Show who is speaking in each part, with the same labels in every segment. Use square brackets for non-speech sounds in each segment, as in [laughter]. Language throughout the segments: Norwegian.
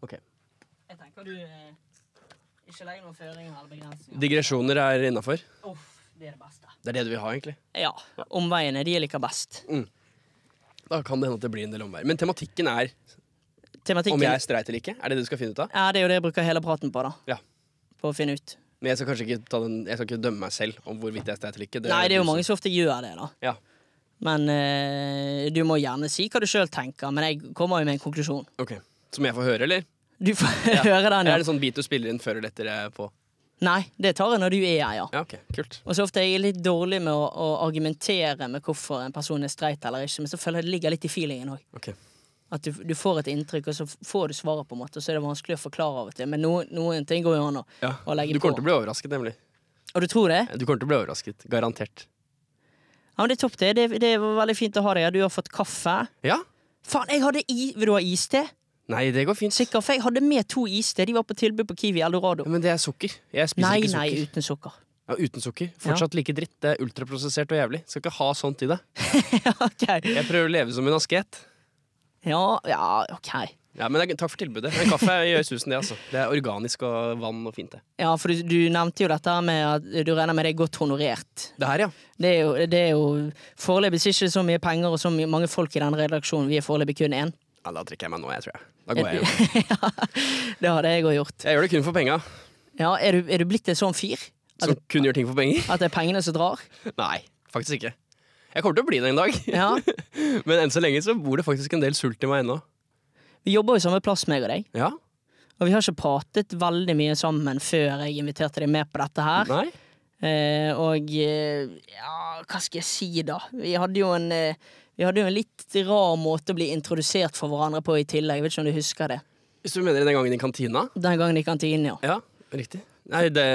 Speaker 1: Ok.
Speaker 2: Jeg tenker du eh, ikke legger noen føringer eller begrensninger.
Speaker 1: Digresjoner er innafor.
Speaker 2: Uff, det er det beste.
Speaker 1: Det er det du vil ha, egentlig.
Speaker 2: Ja. Omveiene, de jeg liker best.
Speaker 1: Da kan det hende at det blir en del omveier. Men tematikken er om
Speaker 2: Tematikken
Speaker 1: jeg er streit eller ikke. Er det det du skal finne ut av?
Speaker 2: Ja, det er jo det jeg bruker hele praten på, da.
Speaker 1: Ja.
Speaker 2: På å finne ut.
Speaker 1: Men jeg skal kanskje ikke, ta den, jeg skal ikke dømme meg selv om hvorvidt jeg er streit eller ikke.
Speaker 2: Nei, det er
Speaker 1: du
Speaker 2: jo mange
Speaker 1: som-
Speaker 2: som ofte gjør det, da.
Speaker 1: Ja,
Speaker 2: Men eh, du må gjerne si hva du sjøl tenker, men jeg kommer jo med en konklusjon.
Speaker 1: ok. Som jeg får høre, eller?
Speaker 2: Du får [laughs] høre den,
Speaker 1: Eller
Speaker 2: ja.
Speaker 1: Er det sånn bit du spiller inn før eller etter jeg er på?
Speaker 2: Nei, det tar jeg når du er her, ja.
Speaker 1: Ja, ok, kult.
Speaker 2: Og så ofte er jeg litt dårlig med å, å argumentere med hvorfor en person er streit eller ikke, men så føler jeg det ligger litt i feelingen òg.
Speaker 1: Ok.
Speaker 2: At du, du får et inntrykk, og så får du svaret, på en måte, og så er det vanskelig å forklare av og til. Men noen, noen ting går jo an å
Speaker 1: Ja.
Speaker 2: å legge
Speaker 1: Du kommer
Speaker 2: på.
Speaker 1: til å bli overrasket, nemlig.
Speaker 2: Og du tror det?
Speaker 1: Du kommer til å bli overrasket. Garantert.
Speaker 2: Ja, men det er topp, det. Det, det var veldig fint å ha deg her. Du har fått kaffe.
Speaker 1: Ja?
Speaker 2: Faen, jeg hadde i... Vil du ha iste?
Speaker 1: Nei, det går fint.
Speaker 2: Sikker, for jeg hadde med to iste. De var på tilbud på Kiwi Eldorado.
Speaker 1: Ja, men det er sukker. Jeg spiser
Speaker 2: Nei,
Speaker 1: ikke
Speaker 2: nei,
Speaker 1: sukker.
Speaker 2: uten sukker.
Speaker 1: Ja,
Speaker 2: [laughs]
Speaker 1: uten sukker. Fortsatt like dritt. Det er ultraprosessert og jævlig. Skal ikke ha sånt i deg.
Speaker 2: ok.
Speaker 1: Jeg prøver å leve som en asket.
Speaker 2: Ja, ja, ok.
Speaker 1: Ja, men det er- Takk for tilbudet. Men kaffe gjør susen, det. altså Det er organisk og vann og fint, det.
Speaker 2: Ja, for du, du nevnte jo dette med at du regner med det er godt honorert.
Speaker 1: Det her, ja.
Speaker 2: Det er jo, det er jo foreløpig ikke så mye penger og så mye, mange folk i den redaksjonen. Vi er foreløpig kun én.
Speaker 1: ja. Da drikker jeg meg nå, jeg, tror jeg. Da går jeg hjem.
Speaker 2: Det hadde jeg òg gjort.
Speaker 1: Jeg gjør det kun for penga.
Speaker 2: Ja, er du, er du blitt en sånn fyr? At,
Speaker 1: Som kun gjør ting for penger? [laughs]
Speaker 2: at det er pengene som drar?
Speaker 1: Nei, faktisk ikke. Jeg kommer til å bli det en dag. [laughs]
Speaker 2: Ja.
Speaker 1: Men enn så lenge så bor det faktisk en del sult i meg ennå.
Speaker 2: Vi jobber jo samme plass, meg og deg.
Speaker 1: Ja?
Speaker 2: Og vi har ikke pratet veldig mye sammen før jeg inviterte deg med på dette her.
Speaker 1: Nei?
Speaker 2: Eh, og eh, ja, hva skal jeg si, da? Vi hadde jo en eh, vi hadde jo en litt rar måte å bli introdusert for hverandre på i tillegg. Jeg vet ikke om du husker det.
Speaker 1: Hvis du mener den gangen i kantina?
Speaker 2: Den gangen i kantinen, ja.
Speaker 1: Ja, riktig. Nei, det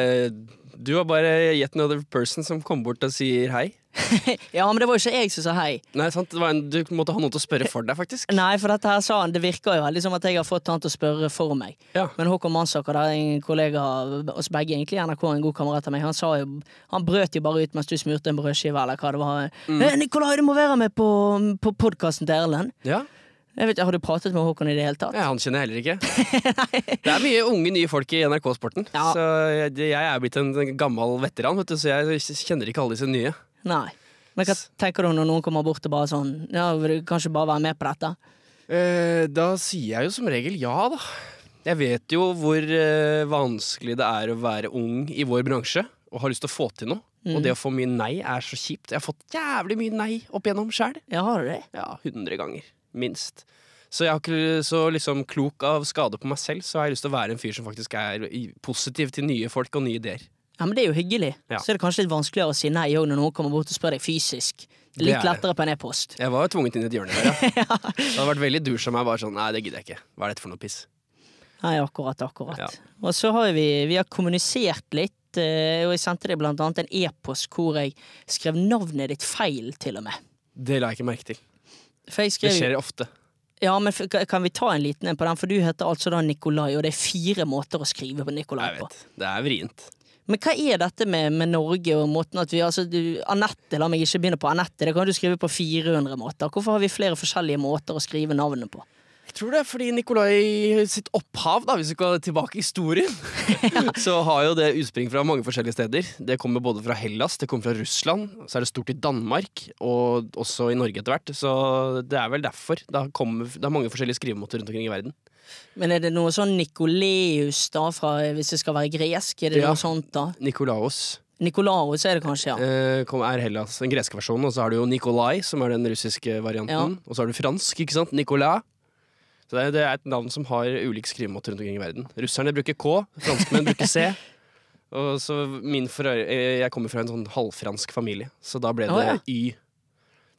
Speaker 1: Du var bare yet another person som kom bort og sier hei.
Speaker 2: [laughs] ja, men det var jo ikke jeg som sa hei.
Speaker 1: Nei, sant? Det var en, du måtte ha noen til å spørre for deg, faktisk.
Speaker 2: Nei, for dette her sa han. Det virker jo veldig som at jeg har fått han til å spørre for meg.
Speaker 1: Ja.
Speaker 2: Men Håkon Mansaker, der, en kollega av oss begge egentlig i NRK, en god kamerat av meg, han sa jo Han brøt jo bare ut mens du smurte en brødskive, eller hva det var.
Speaker 1: Mm.
Speaker 2: «Eh, Nikolai, du må være med på, på podkasten til Erlend.
Speaker 1: Ja.
Speaker 2: Jeg vet, ikke, Har du pratet med Håkon i det hele tatt?
Speaker 1: ja, Han kjenner jeg heller ikke. Det er mye unge, nye folk i NRK-sporten.
Speaker 2: Ja.
Speaker 1: Så jeg, jeg er blitt en gammel veteran, vet du, så jeg kjenner ikke alle disse nye.
Speaker 2: Nei. Men hva tenker du når noen kommer bort og bare sånn Ja, vil du kanskje bare være med på dette?
Speaker 1: Eh, da sier jeg jo som regel ja, da. Jeg vet jo hvor eh, vanskelig det er å være ung i vår bransje og har lyst til å få til noe. Og det å få mye nei er så kjipt. Jeg har fått jævlig mye nei opp igjennom sjæl.
Speaker 2: Ja, har du det?
Speaker 1: Ja, 100 ganger. Minst. Så jeg har ikke så liksom klok av skade på meg selv, så har jeg lyst til å være en fyr som faktisk er i- positiv til nye folk og nye ideer.
Speaker 2: Ja, men det er jo hyggelig.
Speaker 1: Ja.
Speaker 2: Så er det kanskje litt vanskeligere å si nei òg når noen kommer bort og spør deg fysisk. Litt
Speaker 1: er det.
Speaker 2: lettere på en e-post.
Speaker 1: Jeg var tvunget inn i et hjørne der, ja. Det hadde vært veldig dusj av meg bare sånn Nei, det gidder jeg ikke. Hva er dette for noe piss?
Speaker 2: Nei, akkurat, akkurat.
Speaker 1: Ja.
Speaker 2: Og så har vi, vi har kommunisert litt, eh, og jeg sendte deg blant annet en e-post hvor jeg skrev navnet ditt feil, til og med.
Speaker 1: Det la jeg ikke merke til.
Speaker 2: For jeg
Speaker 1: Det
Speaker 2: skrev
Speaker 1: skjer ofte.
Speaker 2: Ja, men f- kan vi ta en liten en på den, for du heter altså da Nikolai, og det er fire måter å skrive på Nikolai
Speaker 1: Jeg
Speaker 2: på.
Speaker 1: vet. Det er vrient.
Speaker 2: Men hva er dette med, med Norge og måten at vi altså, du, Anette, la meg ikke begynne på Anette, det kan du skrive på 400 måter. Hvorfor har vi flere forskjellige måter å skrive navnet på?
Speaker 1: Jeg tror det er fordi Nikolai sitt opphav, da, hvis vi skal tilbake i historien, så har jo det utspring fra mange forskjellige steder. Det kommer både fra Hellas, det kommer fra Russland, så er det stort i Danmark, og også i Norge etter hvert. Så det er vel derfor. Det har kommet- det er mange forskjellige skrivemåter rundt omkring i verden.
Speaker 2: Men er det noe sånn Nikoleus, da, fra, hvis det skal være gresk? Er det
Speaker 1: Ja.
Speaker 2: noe sånt, da?
Speaker 1: Nikolaos
Speaker 2: Nikolaos er det kanskje, ja.
Speaker 1: eh, kom- er Hellas, den greske versjonen, og så har du jo Nikolai, som er den russiske varianten.
Speaker 2: Ja.
Speaker 1: Og så har du fransk, ikke sant? Nicolas. Så det er, det er et navn som har ulik skrivemåte rundt omkring i verden. Russerne bruker K, franskmenn bruker [laughs] C. Og så min for, eh, Jeg kommer fra en sånn halvfransk familie, så da ble det
Speaker 2: Å,
Speaker 1: Y.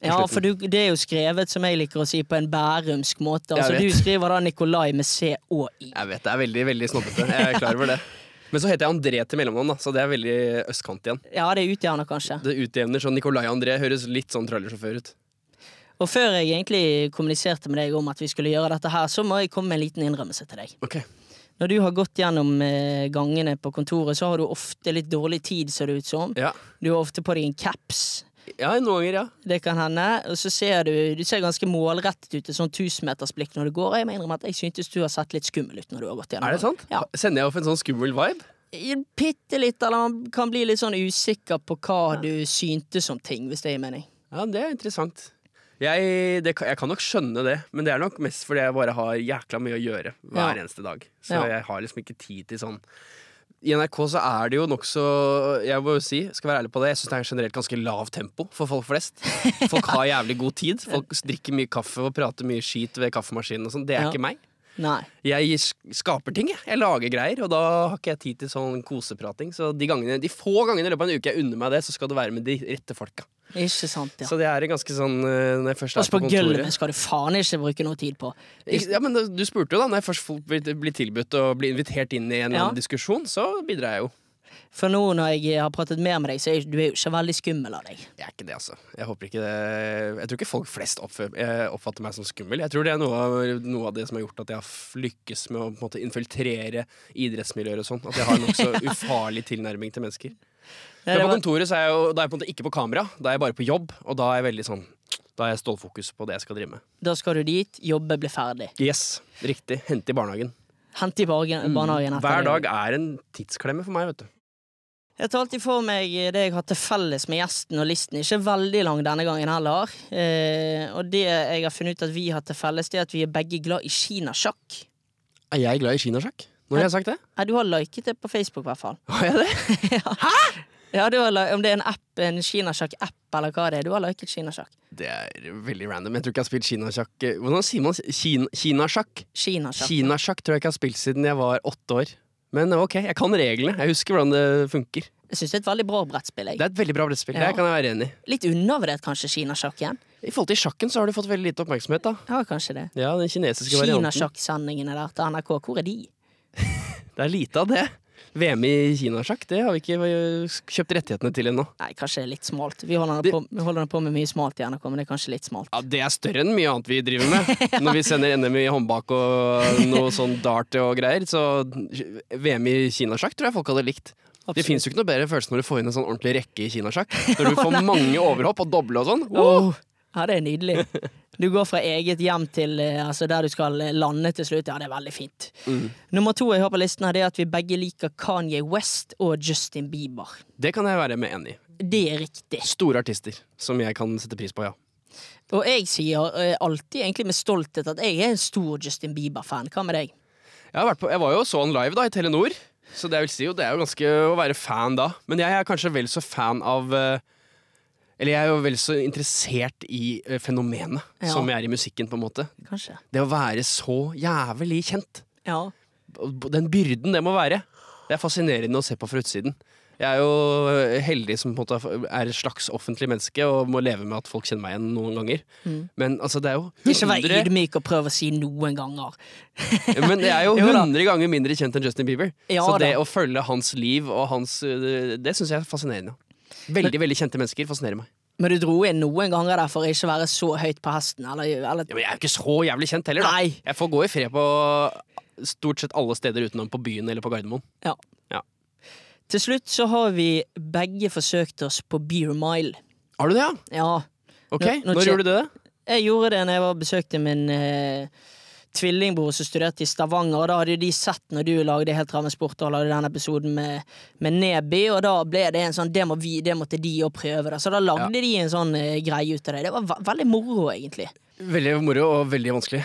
Speaker 2: Ja, for du, det er jo skrevet, som jeg liker å si, på en bærumsk måte.
Speaker 1: Jeg
Speaker 2: Altså,
Speaker 1: vet.
Speaker 2: du skriver da Nikolai med C og I.
Speaker 1: Jeg vet, det er veldig veldig snobbete. Jeg er klar over det. [laughs] Men så heter jeg André til mellomnavn, da, så det er veldig østkant igjen.
Speaker 2: Ja, det utjevner kanskje.
Speaker 1: Det utjevner sånn Nicolai André høres litt sånn trallersjåfør ut.
Speaker 2: Og før jeg egentlig kommuniserte med deg om at vi skulle gjøre dette her, så må jeg komme med en liten innrømmelse til deg.
Speaker 1: Ok,
Speaker 2: Når du har gått gjennom eh, gangene på kontoret, så har du ofte litt dårlig tid, ser det ut som.
Speaker 1: ja
Speaker 2: Du har ofte på deg en caps.
Speaker 1: Ja, noen ganger, ja.
Speaker 2: Det kan hende. Og så ser du Du ser ganske målrettet ut i sånn tusenmetersblikk når du går. Og jeg må innrømme at jeg syntes du har sett litt skummel ut når du har gått gjennom.
Speaker 1: Er det sant?
Speaker 2: Ja.
Speaker 1: Sender jeg opp en sånn skummel vibe?
Speaker 2: Bitte litt, eller man kan bli litt sånn usikker på hva du syntes om ting, hvis det gir mening.
Speaker 1: Ja, det er interessant. Jeg, det, kan- jeg kan nok skjønne det, men det er nok mest fordi jeg bare har jækla mye å gjøre hver
Speaker 2: Ja.
Speaker 1: eneste dag. Så
Speaker 2: Ja.
Speaker 1: jeg har liksom ikke tid til sånn I NRK så er det jo nokså Jeg må jo si, skal være ærlig på det, jeg syns det er generelt ganske lav tempo for folk [laughs] flest. Folk har jævlig god tid. Folk drikker mye kaffe og prater mye skit ved kaffemaskinen og sånn. Det er
Speaker 2: Ja.
Speaker 1: ikke meg.
Speaker 2: Nei.
Speaker 1: Jeg sk- skaper ting, jeg. Jeg lager greier, og da har ikke jeg tid til sånn koseprating. Så de, gangene, de få gangene i løpet av en uke jeg unner meg det, så skal det være med de rette folka.
Speaker 2: Ikke sant, ja.
Speaker 1: Så det er en ganske sånn eh, Når jeg først
Speaker 2: Og
Speaker 1: er på
Speaker 2: på
Speaker 1: kontoret
Speaker 2: gulvet skal du faen ikke bruke noe tid på.
Speaker 1: Ikke- ja, men Du spurte jo, da. Når jeg først får- blir- blir tilbudt og blir invitert inn i en eller
Speaker 2: Ja.
Speaker 1: annen diskusjon, så bidrar jeg jo.
Speaker 2: For nå når jeg har pratet mer med deg, så er du er jo ikke veldig skummel av deg.
Speaker 1: Jeg er ikke det, altså. Jeg håper ikke det Jeg tror ikke folk flest oppfø- eh, oppfatter meg som skummel. Jeg tror det er noe av, noe av det som har gjort at jeg har f- lykkes med å på en måte infiltrere idrettsmiljøer og sånn. At jeg har en
Speaker 2: [laughs]
Speaker 1: nokså ufarlig tilnærming til mennesker. Men
Speaker 2: Ja, det
Speaker 1: på
Speaker 2: var-
Speaker 1: kontoret så er jeg jo, da er jeg på en måte ikke på kamera. Da er jeg bare på jobb, og da er jeg veldig sånn Da er jeg stålfokus på det jeg skal drive med.
Speaker 2: Da skal du dit, jobbe, bli ferdig.
Speaker 1: Yes, riktig. Hente i barnehagen.
Speaker 2: Hente i
Speaker 1: Mm.
Speaker 2: bargen- barnehagen etter
Speaker 1: Hver
Speaker 2: deg.
Speaker 1: dag er en tidsklemme for meg, vet du.
Speaker 2: Jeg tar alltid for meg det jeg har til felles med gjesten, og listen er ikke veldig lang denne gangen heller. Eh, og det jeg har funnet ut at vi har til felles, det er at vi er begge glad i kinasjakk.
Speaker 1: Er jeg glad i kinasjakk? Når har jeg sagt det?
Speaker 2: Nei, du har liket det på Facebook, i hvert fall.
Speaker 1: Har jeg det?
Speaker 2: [laughs] Ja, du har, li- om det er en app, en kinasjakk-app eller hva det er, du har liket kinasjakk.
Speaker 1: Det er veldig random. Jeg tror ikke jeg har spilt kinasjakk eh, Hvordan sier man Kin- kinasjakk?
Speaker 2: Kinasjakk.
Speaker 1: Kinasjakk tror jeg ikke jeg har spilt siden jeg var åtte år. Men eh, ok, jeg kan reglene. Jeg husker hvordan det funker.
Speaker 2: Jeg syns det er et veldig bra brettspill.
Speaker 1: Det
Speaker 2: Jeg.
Speaker 1: er et veldig bra brettspill.
Speaker 2: Ja.
Speaker 1: Det kan jeg være enig i.
Speaker 2: Litt undervurdert kanskje kinasjakk igjen.
Speaker 1: I forhold til sjakken så har du fått veldig lite oppmerksomhet, da.
Speaker 2: Ja, kanskje det.
Speaker 1: Ja, den kinesiske varianten.
Speaker 2: Kinasjakk-sendingene der til NRK, hvor er de?
Speaker 1: Det er lite av det. VM i kinasjakk, det har vi ikke eh, kjøpt rettighetene til ennå.
Speaker 2: Nei, kanskje litt smalt. Vi holder nå
Speaker 1: Det-
Speaker 2: på, vi holder nå på med mye smalt i NRK, men det er kanskje litt smalt.
Speaker 1: Ja, Det er større enn mye annet vi driver
Speaker 2: [laughs]
Speaker 1: med. Når vi sender NM i håndbak og noe sånn dart og greier, så VM i kinasjakk tror jeg folk hadde likt. Det
Speaker 2: Absolutt.
Speaker 1: fins jo ikke noe bedre følelse når du får inn en sånn ordentlig rekke i kinasjakk. Når du får mange overhopp og doble og sånn. Oh!
Speaker 2: Åh, ja, det er nydelig. Du går fra eget hjem til eh, altså der du skal eh, lande til slutt. Ja, det er veldig fint. Nummer to jeg har på listen, her, det er at vi begge liker Kanye West og Justin Bieber.
Speaker 1: Det kan jeg være med enig i.
Speaker 2: Det er riktig.
Speaker 1: Store artister som jeg kan sette pris på, ja.
Speaker 2: Og jeg sier eh, alltid egentlig med stolthet at jeg er en stor Justin Bieber-fan. Hva med deg?
Speaker 1: Jeg, har vært på, jeg var jo og så han live da, i Telenor, så det, vil si jo, det er jo ganske å være fan da. Men jeg er kanskje vel så fan av eh, Eller jeg er jo vel så interessert i eh, fenomenet
Speaker 2: Ja.
Speaker 1: som jeg er i musikken, på en måte.
Speaker 2: Kanskje.
Speaker 1: Det å være så jævlig kjent.
Speaker 2: Ja.
Speaker 1: Og b- Den byrden det må være. Det er fascinerende å se på fra utsiden. Jeg er jo eh, heldig som på en måte er et slags offentlig menneske og må leve med at folk kjenner meg igjen noen ganger. Men altså, det er jo
Speaker 2: Mm. [laughs] Ikke vær
Speaker 1: 100,
Speaker 2: ydmyk og prøv å si noen ganger.
Speaker 1: [laughs] men jeg er jo
Speaker 2: [laughs] Jo da.
Speaker 1: 100 ganger mindre kjent enn Justin Bieber.
Speaker 2: Ja
Speaker 1: så
Speaker 2: da.
Speaker 1: det å følge hans liv og hans øh, Det syns jeg er fascinerende. Veldig veldig kjente mennesker fascinerer meg.
Speaker 2: Men du dro inn noen ganger der for å ikke være så høyt på hesten. Eller, eller
Speaker 1: Ja, men jeg er jo ikke så jævlig kjent heller, da.
Speaker 2: Nei.
Speaker 1: Jeg får gå i fred på stort sett alle steder utenom på byen eller på Gardermoen.
Speaker 2: Ja.
Speaker 1: Ja.
Speaker 2: Til slutt så har vi begge forsøkt oss på Beer Mile.
Speaker 1: Har du det, ja?
Speaker 2: Ja.
Speaker 1: Ok,
Speaker 2: Nå- nå
Speaker 1: Når
Speaker 2: kje-
Speaker 1: gjorde du det?
Speaker 2: Jeg gjorde det når jeg var besøkte min eh, tvillingbror som studerte i Stavanger. Og Da hadde jo de sett når du lagde Helt ramme sport og lagde den episoden med, med Neby, og da ble det en sånn Det, må vi, det måtte de òg prøve. Da. Så da lagde de en sånn eh, greie ut av det. Det var ve veldig moro, egentlig.
Speaker 1: Veldig moro og veldig vanskelig.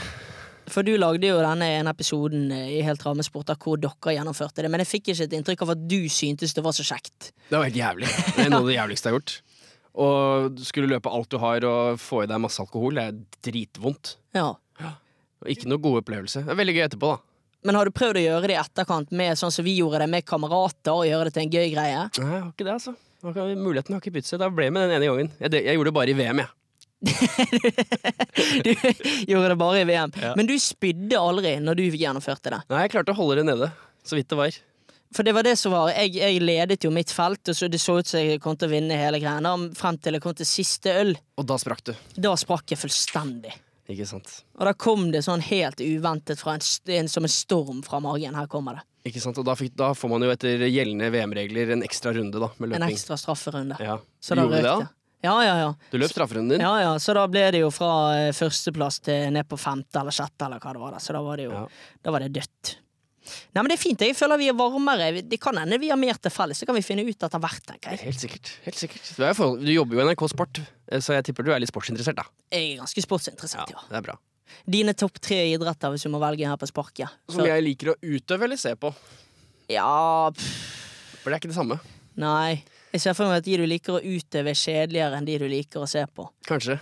Speaker 2: For du lagde jo denne ene episoden eh, i Helt ramme sport av hvor dere gjennomførte det, men jeg fikk ikke et inntrykk av at du syntes det var så kjekt.
Speaker 1: Det var helt jævlig. Det er noe av det jævligste jeg har gjort. Og du skulle løpe alt du har og få i deg masse alkohol, det er dritvondt.
Speaker 2: Ja.
Speaker 1: Og ikke noe god opplevelse. Det er veldig gøy etterpå, da.
Speaker 2: Men har du prøvd å gjøre det i etterkant, med, sånn som vi gjorde det med kamerater? og gjøre det til en gøy greie?
Speaker 1: Nei, jeg har ikke det, altså. Jeg har ikke- Muligheten har ikke byttet seg. Da ble jeg med den ene gangen. Jeg, jeg gjorde det bare i VM, jeg.
Speaker 2: Du gjorde det bare i VM.
Speaker 1: Ja.
Speaker 2: Men du spydde aldri når du gjennomførte det.
Speaker 1: Nei, jeg klarte å holde det nede. Så vidt det var.
Speaker 2: For det var det som var Jeg, jeg ledet jo mitt felt, og så det så ut som jeg kom til å vinne hele greia. da, Frem til jeg kom til siste øl.
Speaker 1: Og da sprakk du.
Speaker 2: Da sprakk jeg fullstendig.
Speaker 1: Ikke sant.
Speaker 2: Og da kom det sånn helt uventet fra en, st- en, som en storm fra magen. Her kommer det.
Speaker 1: Ikke sant? Og da, fikk, da får man jo etter gjeldende VM-regler en ekstra runde da, med
Speaker 2: En
Speaker 1: løping.
Speaker 2: ekstra strafferunde.
Speaker 1: Ja.
Speaker 2: Så da
Speaker 1: Gjorde du
Speaker 2: røk
Speaker 1: det,
Speaker 2: det.
Speaker 1: da?
Speaker 2: Ja, ja, ja.
Speaker 1: Du løp strafferunden din.
Speaker 2: Ja, ja, Så da ble det jo fra eh, førsteplass til ned på femte eller sjette, eller hva det var. da Så da var det jo
Speaker 1: Ja.
Speaker 2: Da var det dødt. Nei, men Det er fint. Jeg føler vi er varmere. Vi- Det kan hende vi har mer til felles. Det kan vi finne ut etter hvert. tenker Jeg
Speaker 1: Helt sikkert. helt sikkert du, er jo forhold, du jobber jo i NRK Sport, eh, så jeg tipper du er litt sportsinteressert, da.
Speaker 2: Jeg er ganske sportsinteressert, ja.
Speaker 1: Det er bra.
Speaker 2: Dine topp tre idretter, hvis du må velge her på sparket?
Speaker 1: Som
Speaker 2: Så-
Speaker 1: jeg liker å utøve eller se på.
Speaker 2: Ja, pff,
Speaker 1: For det er ikke det samme.
Speaker 2: nei. Jeg ser for meg at de du liker å utøve, er kjedeligere enn de du liker å se på.
Speaker 1: Kanskje.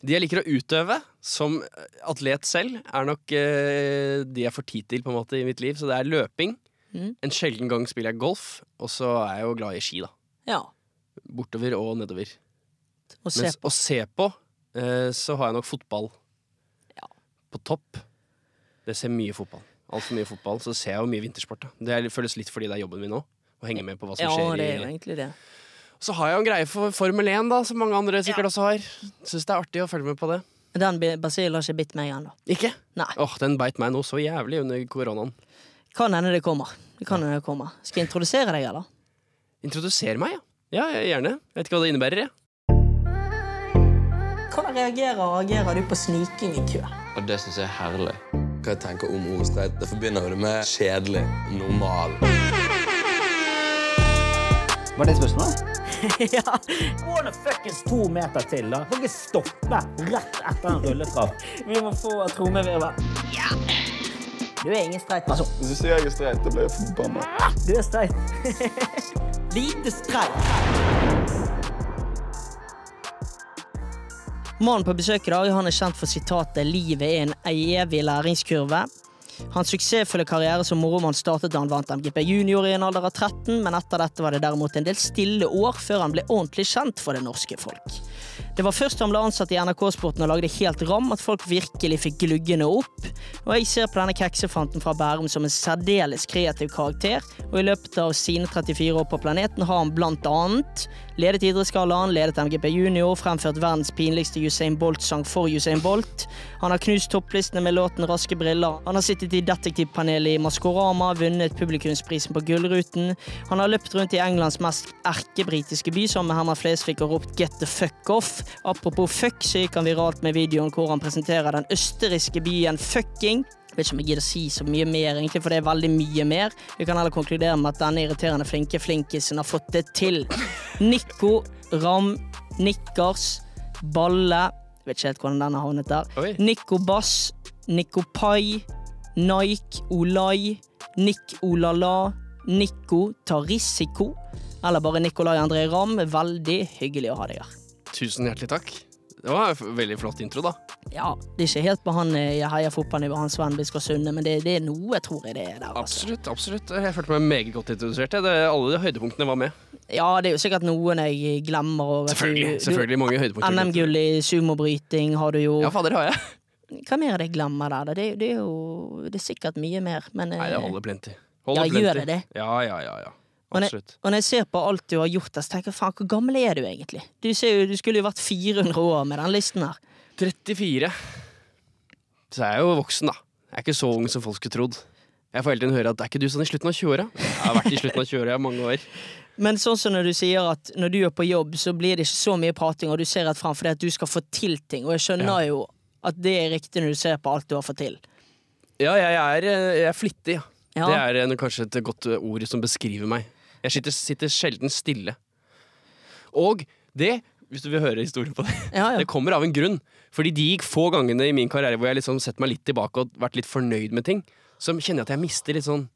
Speaker 1: De jeg liker å utøve som atlet selv, er nok eh, de jeg får tid til på en måte i mitt liv. Så det er løping.
Speaker 2: Mhm.
Speaker 1: En sjelden gang spiller jeg golf, og så er jeg jo glad i ski, da.
Speaker 2: Ja.
Speaker 1: Bortover og nedover.
Speaker 2: Å se
Speaker 1: Mens å se på, eh, så har jeg nok fotball
Speaker 2: Ja.
Speaker 1: på topp. Det ser mye fotball. Altfor mye fotball. Så ser jeg jo mye vintersport. Da. Det er- føles litt fordi det er jobben min nå. Å henge med på hva som
Speaker 2: Ja,
Speaker 1: skjer.
Speaker 2: det er jo
Speaker 1: i...
Speaker 2: egentlig det.
Speaker 1: Så har jeg jo en greie for Formel 1, da, som mange andre sikkert også har. Syns det er artig å følge med på det.
Speaker 2: Den bi- basillen har ikke bitt meg ennå.
Speaker 1: Ikke?
Speaker 2: Nei.
Speaker 1: Åh, Den beit meg noe så jævlig under koronaen.
Speaker 2: Kan hende det kommer. Det kan hende det kommer. Skal jeg introdusere deg, eller?
Speaker 1: Introduser meg, ja. Ja, ja, gjerne. Jeg vet ikke hva det innebærer. jeg.
Speaker 2: Hvordan reagerer og agerer du på sniking i kø?
Speaker 3: Og det syns jeg er herlig. Hva jeg tenker om ordet streit, det forbinder jo det med kjedelig, normal.
Speaker 4: Var det
Speaker 5: [laughs]
Speaker 4: spørsmålet?
Speaker 2: ja.
Speaker 5: Gå nå fuckings to meter til, da. Får ikke stoppe rett etter en rulletrapp.
Speaker 2: Vi må få trommevirvel. Ja. Du er ingen streit person.
Speaker 6: Hvis du sier jeg er streit, da blir jeg forbanna.
Speaker 2: Du er streit. [laughs] Lite streit. Mannen på besøk i dag han er kjent for sitatet 'Livet er en evig læringskurve'. Hans suksessfulle karriere som moromann startet da han vant MGP Junior i en alder av 13, men etter dette var det derimot en del stille år før han ble ordentlig kjent for det norske folk. Det var først da han ble ansatt i NRK-sporten og lagde helt ram at folk virkelig fikk gluggene opp, og jeg ser på denne keksefanten fra Bærum som en særdeles kreativ karakter, og i løpet av sine 34 år på planeten har han blant annet ledet Idrettsgallaen, ledet MGP Junior, fremført verdens pinligste Usain Bolt-sang for Usain Bolt, han har knust topplistene med låten Raske briller, han har sittet i detektivpanelet i Maskorama, vunnet publikumsprisen liksom på Gullruten, han har løpt rundt i Englands mest erkebritiske by sammen med Herman Flesvig og ropt 'get the fuck off'. Apropos fuck, så gikk han viralt med videoen hvor han presenterer den østerrikske byen Fucking. Jeg vet ikke om jeg gidder å si så mye mer, egentlig, for det er veldig mye mer. Vi kan heller konkludere med at denne irriterende flinke flinkisen har fått det til. Nico, Ram, Nikkers, Balle Jeg vet ikke helt hvordan den har havnet der.
Speaker 1: Oi.
Speaker 2: Nico Bass, Nico Pai, Nike Olai, Nick Olala, Nico tar risiko, eller bare Nicolai André Ramm. Veldig hyggelig å ha deg her.
Speaker 1: Tusen hjertelig takk. Det var en f- veldig flott intro, da.
Speaker 2: Ja, det er ikke helt på han eh, jeg heier fotballnivå, han Sven Biskår Sunde, men det, det er noe, tror jeg det er der. Altså.
Speaker 1: Absolutt. absolutt. Jeg følte meg meget godt introdusert. jeg. Det, alle de høydepunktene var med.
Speaker 2: Ja, det er jo sikkert noen jeg eh, glemmer. og at du-
Speaker 1: Selvfølgelig.
Speaker 2: du-
Speaker 1: selvfølgelig mange høydepunkter.
Speaker 2: NM-gull i sumobryting har du jo.
Speaker 1: Ja, fader, har jeg.
Speaker 2: Hva mer er det jeg glemmer der? da? Det, det er jo det er sikkert mye mer, men eh,
Speaker 1: Nei, det holder plenty. Holder
Speaker 2: Ja, gjør
Speaker 1: plenty.
Speaker 2: det det?
Speaker 1: Ja, ja, ja. ja.
Speaker 2: Og når-
Speaker 1: Absolutt.
Speaker 2: Og når jeg ser på alt du har gjort, der, så tenker jeg faen, hvor gammel er du egentlig? Du, ser jo, du skulle jo vært 400 år med den listen her.
Speaker 1: 34. Så er jeg jo voksen, da. Jeg er ikke så ung som folk skulle trodd. Jeg får hele tiden høre at er ikke du sånn i slutten av 20-åra? Jeg har vært i slutten av 20-åra i mange år.
Speaker 2: Men sånn som når du sier at når du er på jobb, så blir det ikke så mye prating, og du ser rett fram fordi at du skal få til ting, og jeg skjønner jo at det er riktig når du ser på alt du har fått til.
Speaker 1: Ja, jeg er, eh, jeg er flittig, ja.
Speaker 2: Ja.
Speaker 1: Det er en, kanskje et godt ord som beskriver meg. Jeg sitter, sitter sjelden stille. Og det, hvis du vil høre historien på det,
Speaker 2: Ja, ja.
Speaker 1: det kommer av en grunn. Fordi de få gangene i min karriere hvor jeg liksom setter meg litt tilbake og vært litt fornøyd med ting, så kjenner jeg at jeg mister litt sånn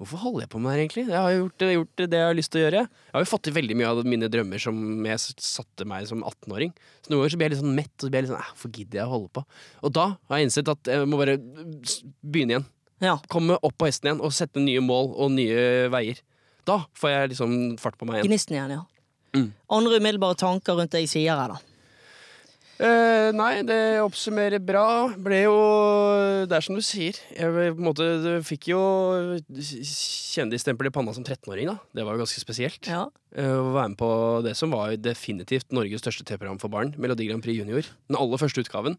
Speaker 1: Hvorfor holder jeg på med det her, egentlig? Jeg har jo gjort, gjort det jeg har lyst til å gjøre. Jeg har jo fått til veldig mye av mine drømmer som jeg s- satte meg som 18-åring. Så noen ganger så blir jeg litt sånn mett, og så blir jeg litt sånn "Æ, Hvorfor gidder jeg å holde på? Og da har jeg innsett at jeg må bare s- begynne igjen
Speaker 2: Ja.
Speaker 1: komme opp på hesten igjen og sette nye mål og nye veier. Da får jeg liksom fart på meg igjen.
Speaker 2: Gnisten igjen, ja. Andre umiddelbare tanker rundt det jeg sier her, da.
Speaker 1: Eh, nei, det oppsummerer bra. Ble jo Det er som du sier. Jeg ble på en måte, du fikk jo kjendisstempel i panna som 13-åring, da. Det var jo ganske spesielt.
Speaker 2: Ja.
Speaker 1: Eh, å være med på det som var definitivt Norges største TV-program for barn, Melodi Grand Prix Junior. Den aller første utgaven.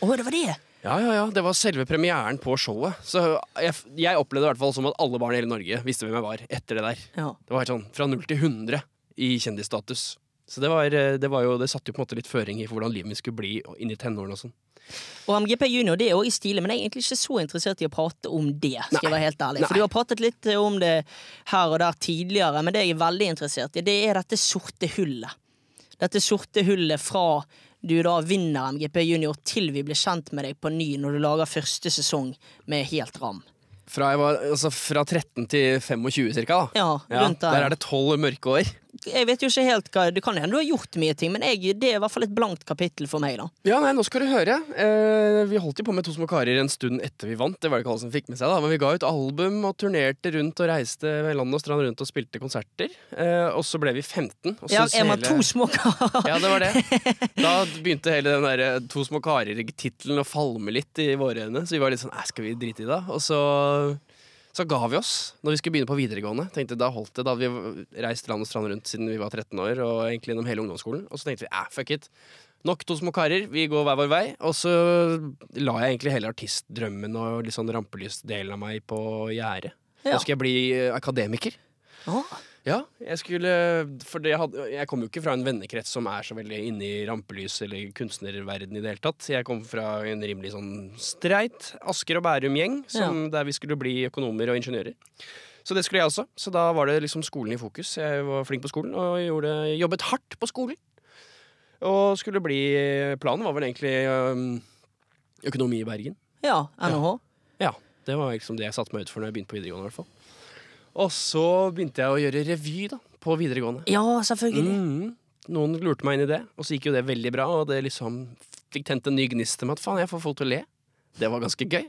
Speaker 2: Å, det var det!
Speaker 1: Ja, ja, ja. Det var selve premieren på showet. Så jeg, jeg opplevde det i hvert fall som at alle barn i hele Norge visste hvem jeg var etter det der.
Speaker 2: Ja.
Speaker 1: Det var helt sånn fra null til 100 i kjendisstatus. Så det, var, eh, det, var jo, det satte jo på en måte litt føring i for hvordan livet mitt skulle bli og inn i tenårene og sånn.
Speaker 2: Og MGP Junior det er også i stilig, men jeg er egentlig ikke så interessert i å prate om det. skal jeg være helt ærlig. For
Speaker 1: Nei.
Speaker 2: du har pratet litt eh, om det her og der tidligere, men det jeg er veldig interessert i, det er dette sorte hullet. Dette sorte hullet fra du da vinner MGP Junior til vi blir kjent med deg på ny når du lager første sesong med helt ram.
Speaker 1: Fra, jeg var, altså, fra 13 til 25 cirka, da.
Speaker 2: Ja, rundt der.
Speaker 1: der er det tolv mørke år.
Speaker 2: Jeg vet jo ikke helt hva, Det kan hende du har gjort mye ting, men jeg, det er i hvert fall et blankt kapittel for meg. da.
Speaker 1: Ja, nei, nå skal du høre. Eh, vi holdt jo på med To små karer en stund etter vi vant. Det var det ikke alle som fikk med seg, da. Men vi ga ut album og turnerte rundt og reiste land og strand rundt og spilte konserter. Eh, og så ble vi 15. Og så
Speaker 2: Ja,
Speaker 1: så
Speaker 2: jeg må ha
Speaker 1: hele-
Speaker 2: to små [laughs] karer.
Speaker 1: Ja, det var det. Da begynte hele den der eh, To små karer-tittelen å falme litt i våre øyne. Så vi var litt sånn "Æ, skal vi drite i det? Og så, så ga vi oss når vi skulle begynne på videregående. Tenkte Da holdt det. Da hadde vi reist land og strand rundt siden vi var 13 år, og egentlig gjennom hele ungdomsskolen. Og så tenkte vi æ, fuck it. Nok to små karer, vi går hver vår vei. Og så la jeg egentlig hele artistdrømmen og litt sånn rampelysdelen av meg på gjerdet.
Speaker 2: Ja.
Speaker 1: Nå skal jeg bli eh, akademiker.
Speaker 2: Å,
Speaker 1: Ja, jeg skulle For det hadde, jeg kom jo ikke fra en vennekrets som er så veldig inne i rampelys eller kunstnerverden i det hele tatt. Jeg kom fra en rimelig sånn streit Asker og Bærum-gjeng, som- der vi skulle bli økonomer og ingeniører. Så det skulle jeg også. Så da var det liksom skolen i fokus. Jeg var flink på skolen og gjorde, jobbet hardt på skolen. Og skulle bli Planen var vel egentlig øhm, økonomi i Bergen.
Speaker 2: ja, NHH.
Speaker 1: Ja, det var liksom det jeg satte meg ut for når jeg begynte på videregående. i hvert fall. Og så begynte jeg å gjøre revy da, på videregående.
Speaker 2: Ja, selvfølgelig.
Speaker 1: Mhm. Noen lurte meg inn i det, og så gikk jo det veldig bra. Og det liksom fikk tent en ny gnist med at faen, jeg får folk til å le. Det var ganske gøy.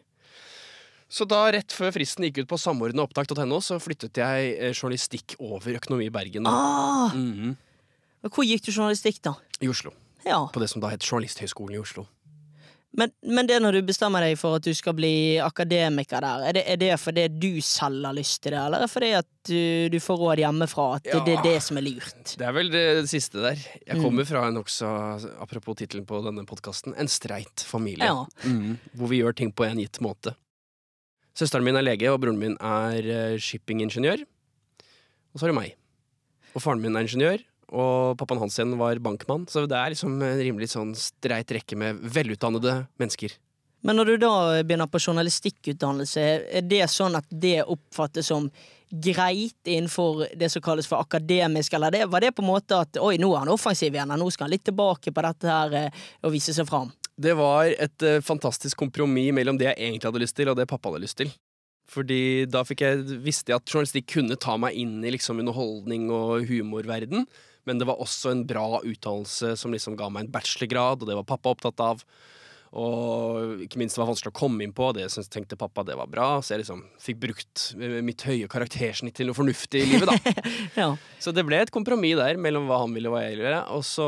Speaker 1: Så da, rett før fristen gikk ut på samordnaopptak.no, så flyttet jeg eh, journalistikk over Økonomi i Bergen. Da.
Speaker 2: Ah,
Speaker 1: Mhm.
Speaker 2: hvor gikk du journalistikk, da?
Speaker 1: I Oslo.
Speaker 2: Ja.
Speaker 1: På det som da het Journalisthøgskolen i Oslo.
Speaker 2: Men, men det når du bestemmer deg for at du skal bli akademiker der, er det, er det fordi du selv har lyst til det, eller er det fordi at du, du får råd hjemmefra at det, det er det som er lurt?
Speaker 1: Det er vel det siste der. Jeg kommer fra en også, apropos tittelen på denne podkasten, en streit familie.
Speaker 2: Ja.
Speaker 1: Mhm. Hvor vi gjør ting på en gitt måte. Søsteren min er lege, og broren min er eh, shippingingeniør. Og så er det meg. Og faren min er ingeniør, og pappaen hans igjen var bankmann. Så det er liksom en rimelig sånn streit rekke med velutdannede mennesker.
Speaker 2: Men når du da begynner på journalistikkutdannelse, er det sånn at det oppfattes som greit innenfor det som kalles for akademisk, eller det, var det på en måte at oi, nå er han offensiv igjen, nå skal han litt tilbake på dette her eh, og vise seg fram?
Speaker 1: Det var et eh, fantastisk kompromiss mellom det jeg egentlig hadde lyst til, og det pappa hadde lyst til. Fordi da fikk jeg, visste jeg at journalistikk kunne ta meg inn i liksom underholdning og humorverden, men det var også en bra utdannelse som liksom ga meg en bachelorgrad, og det var pappa opptatt av. Og ikke minst det var vanskelig å komme inn på, det syntes- tenkte pappa det var bra. Så jeg liksom fikk brukt eh, mitt høye karaktersnitt til noe fornuftig i livet, da.
Speaker 2: Ja.
Speaker 1: Så det ble et kompromiss der mellom hva han ville og hva jeg ville gjøre. Og så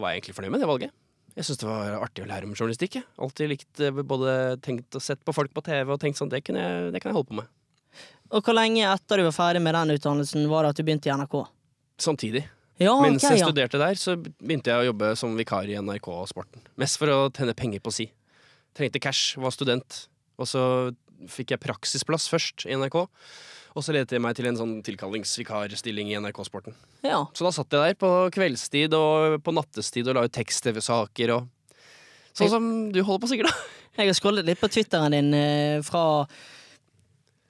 Speaker 1: var jeg egentlig fornøyd med det valget. Jeg syns det var artig å lære om journalistikk. jeg. Alltid likt eh, både tenkt og sett på folk på TV og tenkt sånn, det, kunne jeg, det kan jeg holde på med.
Speaker 2: Og hvor lenge etter du var ferdig med den utdannelsen, var det at du begynte i NRK?
Speaker 1: Samtidig.
Speaker 2: Ja,
Speaker 1: Mens
Speaker 2: ok,
Speaker 1: jeg
Speaker 2: ja.
Speaker 1: studerte der, så begynte jeg å jobbe som vikar i NRK og Sporten. Mest for å tjene penger på si. Trengte cash, var student. Og så fikk jeg praksisplass først i NRK. Og så ledet jeg meg til en sånn tilkallingsvikarstilling i NRK Sporten.
Speaker 2: Ja.
Speaker 1: Så da satt jeg der på kveldstid og på nattestid og la ut tekst-TV-saker og Sånn som du holder på sikkert, da.
Speaker 2: Jeg har scrollet litt på Twitteren din eh, fra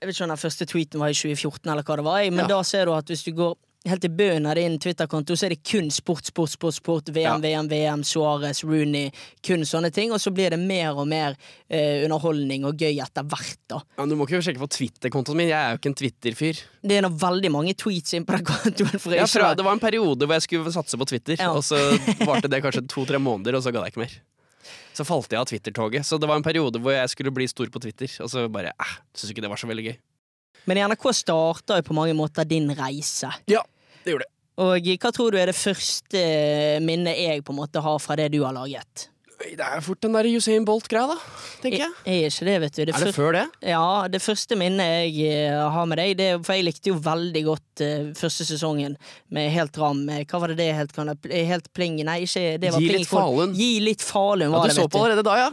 Speaker 2: Jeg vet ikke om den første tweeten var i 2014, eller hva det var, jeg, men
Speaker 1: Ja.
Speaker 2: da ser du at hvis du går helt i bunnen av din Twitter-konto, så er det kun sport, sport, sport, sport, VM,
Speaker 1: Ja.
Speaker 2: VM, VM, Suárez, Rooney, kun sånne ting, og så blir det mer og mer eh, underholdning og gøy etter hvert, da.
Speaker 1: Ja, du må ikke sjekke på Twitter-kontoen min. Jeg er jo ikke en Twitter-fyr.
Speaker 2: Det er nå veldig mange tweets inn på den kontoen, for
Speaker 1: Jeg
Speaker 2: jeg
Speaker 1: tror
Speaker 2: tror
Speaker 1: Det var en periode hvor jeg skulle satse på Twitter,
Speaker 2: Ja.
Speaker 1: og så varte det [laughs] kanskje to-tre måneder, og så ga jeg ikke mer. Så falt jeg av Twitter-toget. Så det var en periode hvor jeg skulle bli stor på Twitter, og så bare eh, syns ikke det var så veldig gøy.
Speaker 2: Men i NRK starta jo på mange måter din reise.
Speaker 1: Ja, det gjorde det.
Speaker 2: Og hva tror du er det første minnet jeg på en måte har fra det du har laget?
Speaker 1: Det er fort den der Usain Bolt-greia, da, tenker jeg.
Speaker 2: Jeg er ikke det, vet du. Det
Speaker 1: Er det
Speaker 2: fyr-
Speaker 1: før det?
Speaker 2: Ja, det første minnet jeg eh, har med deg, det, er- for jeg likte jo veldig godt eh, første sesongen med Helt Ram. Eh, Hva var det det eh, helt, kan, helt Pling? Nei, ikke det var
Speaker 1: Gi
Speaker 2: Pling
Speaker 1: litt
Speaker 2: i Kol-
Speaker 1: Falun.
Speaker 2: Gi litt Falun,
Speaker 1: Ja,
Speaker 2: var
Speaker 1: du
Speaker 2: det,
Speaker 1: så
Speaker 2: vet
Speaker 1: på allerede da, ja?